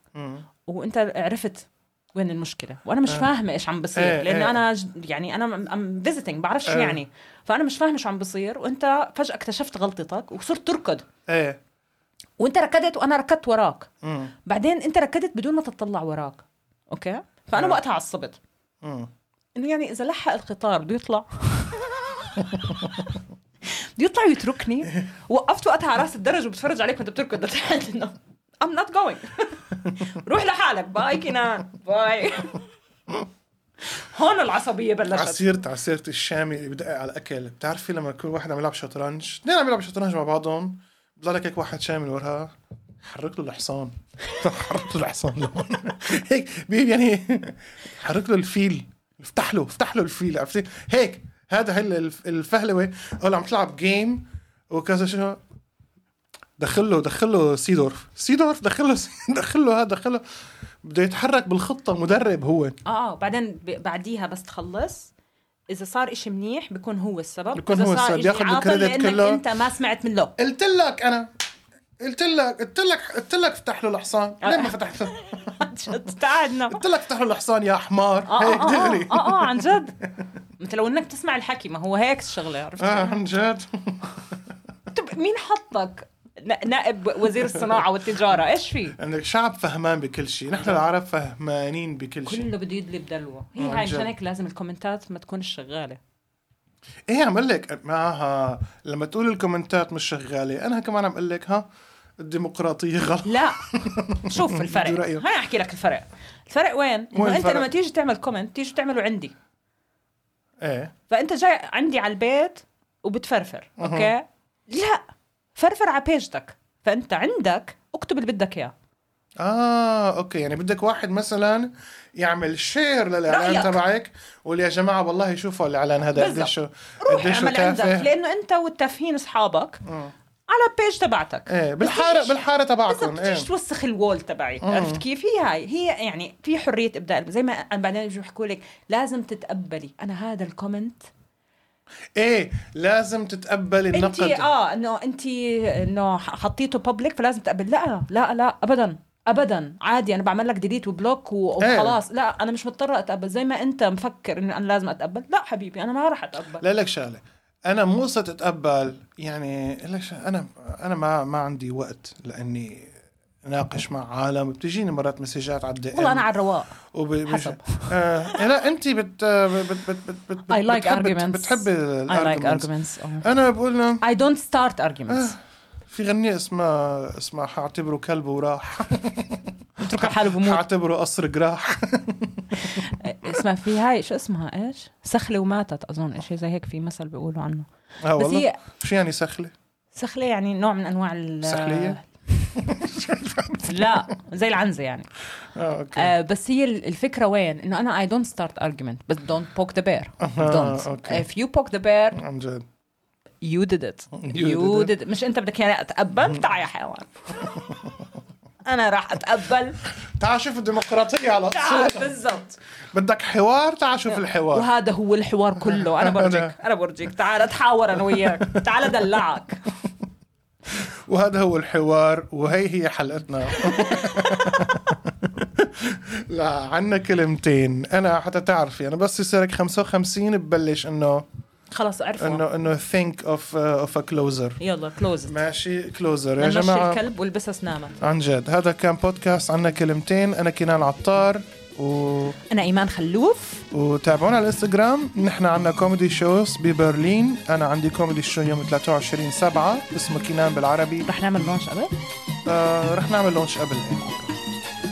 B: وانت عرفت وين المشكله وانا مش فاهمه ايش عم
A: إيه،
B: بصير
A: إيه.
B: لانه انا ج- يعني انا ام فيزيتنج بعرفش شو
A: إيه.
B: يعني فانا مش فاهمه شو عم بصير وانت فجاه اكتشفت غلطتك وصرت تركض
A: ايه
B: وانت ركضت وانا ركضت وراك
A: مم.
B: بعدين انت ركضت بدون ما تطلع وراك اوكي فانا وقتها عصبت
A: آه. مم.
B: انه يعني اذا لحق القطار بده يطلع بده يطلع ويتركني وقفت وقتها على راس الدرج وبتفرج عليك وانت بتركض لتحت انه I'm not going روح لحالك باي كنان باي هون العصبية بلشت
A: عسيرة عسيرة الشامي اللي بدقق على الاكل بتعرفي لما يكون واحد عم يلعب شطرنج اثنين عم يلعبوا شطرنج مع بعضهم بضلك هيك واحد شامي وراها حرك له الحصان حرك له الحصان لهون هيك بي- يعني حرك له الفيل افتح له افتح له الفيل عرفتي هيك هذا هي الف- الفهلوه هلا عم تلعب جيم وكذا شو دخل له دخل له سيدورف سيدورف دخل له دخل له هذا دخل له بده يتحرك بالخطه مدرب هو
B: اه اه بعدين ب- بعديها بس تخلص إذا صار إشي منيح بيكون هو السبب
A: بيكون
B: إذا
A: هو
B: صار
A: السبب.
B: إشي
A: ياخد
B: عاطل
A: الكريدت
B: لأنك
A: كله.
B: أنت ما سمعت من له
A: قلت لك انا قلت لك قلت لك قلت لك افتح له الحصان ليه ما فتحت له
B: عن جد تعبنا
A: قلت لك افتح له الحصان يا حمار
B: اه
A: هيك
B: اه اه
A: دغري
B: اه, آه, آه عن جد انت لو انك تسمع الحكي ما هو هيك الشغله عرفت
A: اه عن جد
B: طب مين حطك نا- نائب وزير الصناعه والتجاره ايش في
A: عندك شعب يعني فهمان بكل شيء نحن العرب فهمانين بكل شيء
B: كله بده يدلي بدلوه هي
A: آه، عن
B: هاي
A: جد.
B: مشان هيك لازم الكومنتات ما تكونش شغاله
A: ايه عم اقول لك معها لما تقول الكومنتات مش شغاله انا كمان عم اقول لك ها الديمقراطيه غلط
B: لا شوف
A: بدي
B: الفرق
A: رأيه.
B: هاي احكي لك الفرق الفرق وين
A: وين
B: انه انت
A: الفرق؟
B: لما تيجي تعمل كومنت تيجي تعمله عندي
A: ايه
B: فانت جاي عندي على البيت وبتفرفر اوكي لا فرفر على بيجتك فانت عندك اكتب اللي بدك اياه
A: اه اوكي يعني بدك واحد مثلا يعمل شير للاعلان
B: رأيك.
A: تبعك وقول يا جماعه والله شوفوا الاعلان هذا
B: بالضبط.
A: قديش
B: روح
A: قديش
B: اعمل عندك
A: تافه
B: لانه انت والتافهين اصحابك على البيج تبعتك
A: ايه بالحاره بالحاره
B: بالضبط
A: تبعكم ايه
B: بتيجي توسخ الوول تبعي عرفت كيف هي هاي هي يعني في حريه ابداع زي ما أنا بعدين بيجوا يحكوا لك لازم تتقبلي انا هذا الكومنت
A: ايه لازم تتقبل
B: انت
A: النقد
B: اه انه انت انه حطيته بابليك فلازم تقبل لا لا لا ابدا ابدا عادي انا بعمل لك ديليت وبلوك و-
A: إيه.
B: وخلاص لا انا مش مضطره اتقبل زي ما انت مفكر انه انا لازم اتقبل لا حبيبي انا ما راح اتقبل
A: لا لك شغله انا مو قصه اتقبل يعني لك شغلة، انا انا ما ما عندي وقت لاني ناقش مع عالم بتجيني مرات مسجات على الدي
B: والله انا على الرواق
A: وب...
B: حسب.
A: آه لا انت بت بت بت بت, بت, بت
B: I like
A: بتحب
B: arguments.
A: بتحب
B: I like
A: الارجيومنتس
B: arguments oh.
A: انا بقول لهم
B: I don't start arguments
A: آه. في غنية اسمها اسمها حاعتبره كلب وراح
B: اترك حاله بموت
A: حاعتبره قصر جراح
B: اسمها إيه، في هاي شو اسمها ايش سخله وماتت اظن شيء زي هيك في مثل بيقولوا عنه
A: اه
B: بس
A: والله
B: هي
A: شو يعني سخلة؟
B: سخله يعني نوع من انواع ال
A: سخلية؟
B: لا زي العنزه يعني
A: اه اوكي
B: آه بس هي ال- الفكره وين انه انا اي دونت ستارت ارجيومنت بس دونت بوك ذا بير
A: أها،
B: دونت
A: آه، أوكي.
B: اف يو بوك ذا بير
A: عن جد
B: يو ديد ات
A: You
B: يو
A: did
B: ديد مش انت بدك يعني اتقبل تعال يا حيوان انا راح اتقبل
A: تعال شوف الديمقراطية على
B: تعال
A: الصورة
B: بالضبط
A: بدك حوار تعال شوف الحوار
B: وهذا هو الحوار كله انا برجيك انا برجيك تعال اتحاور انا وياك تعال ادلعك
A: وهذا هو الحوار وهي هي حلقتنا لا عنا كلمتين انا حتى تعرفي انا بس يصيرك 55 ببلش انه
B: خلص عرفوا
A: انه انه think of uh, of a closer
B: يلا كلوز
A: ماشي كلوزر يا
B: مشي
A: جماعه
B: الكلب والبسها سنامة
A: عن جد هذا كان بودكاست عنا كلمتين انا كنان عطار و...
B: انا ايمان خلوف
A: وتابعونا على الانستغرام نحن عنا كوميدي شوز ببرلين انا عندي كوميدي شو يوم 23 7 اسمه كنان بالعربي
B: رح نعمل لونش قبل
A: آه رح نعمل لونش قبل يعني.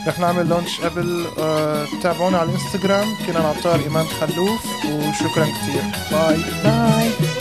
A: رح نعمل لونش قبل آه تابعونا على الانستغرام كنان عطار ايمان خلوف وشكرا كثير باي
B: باي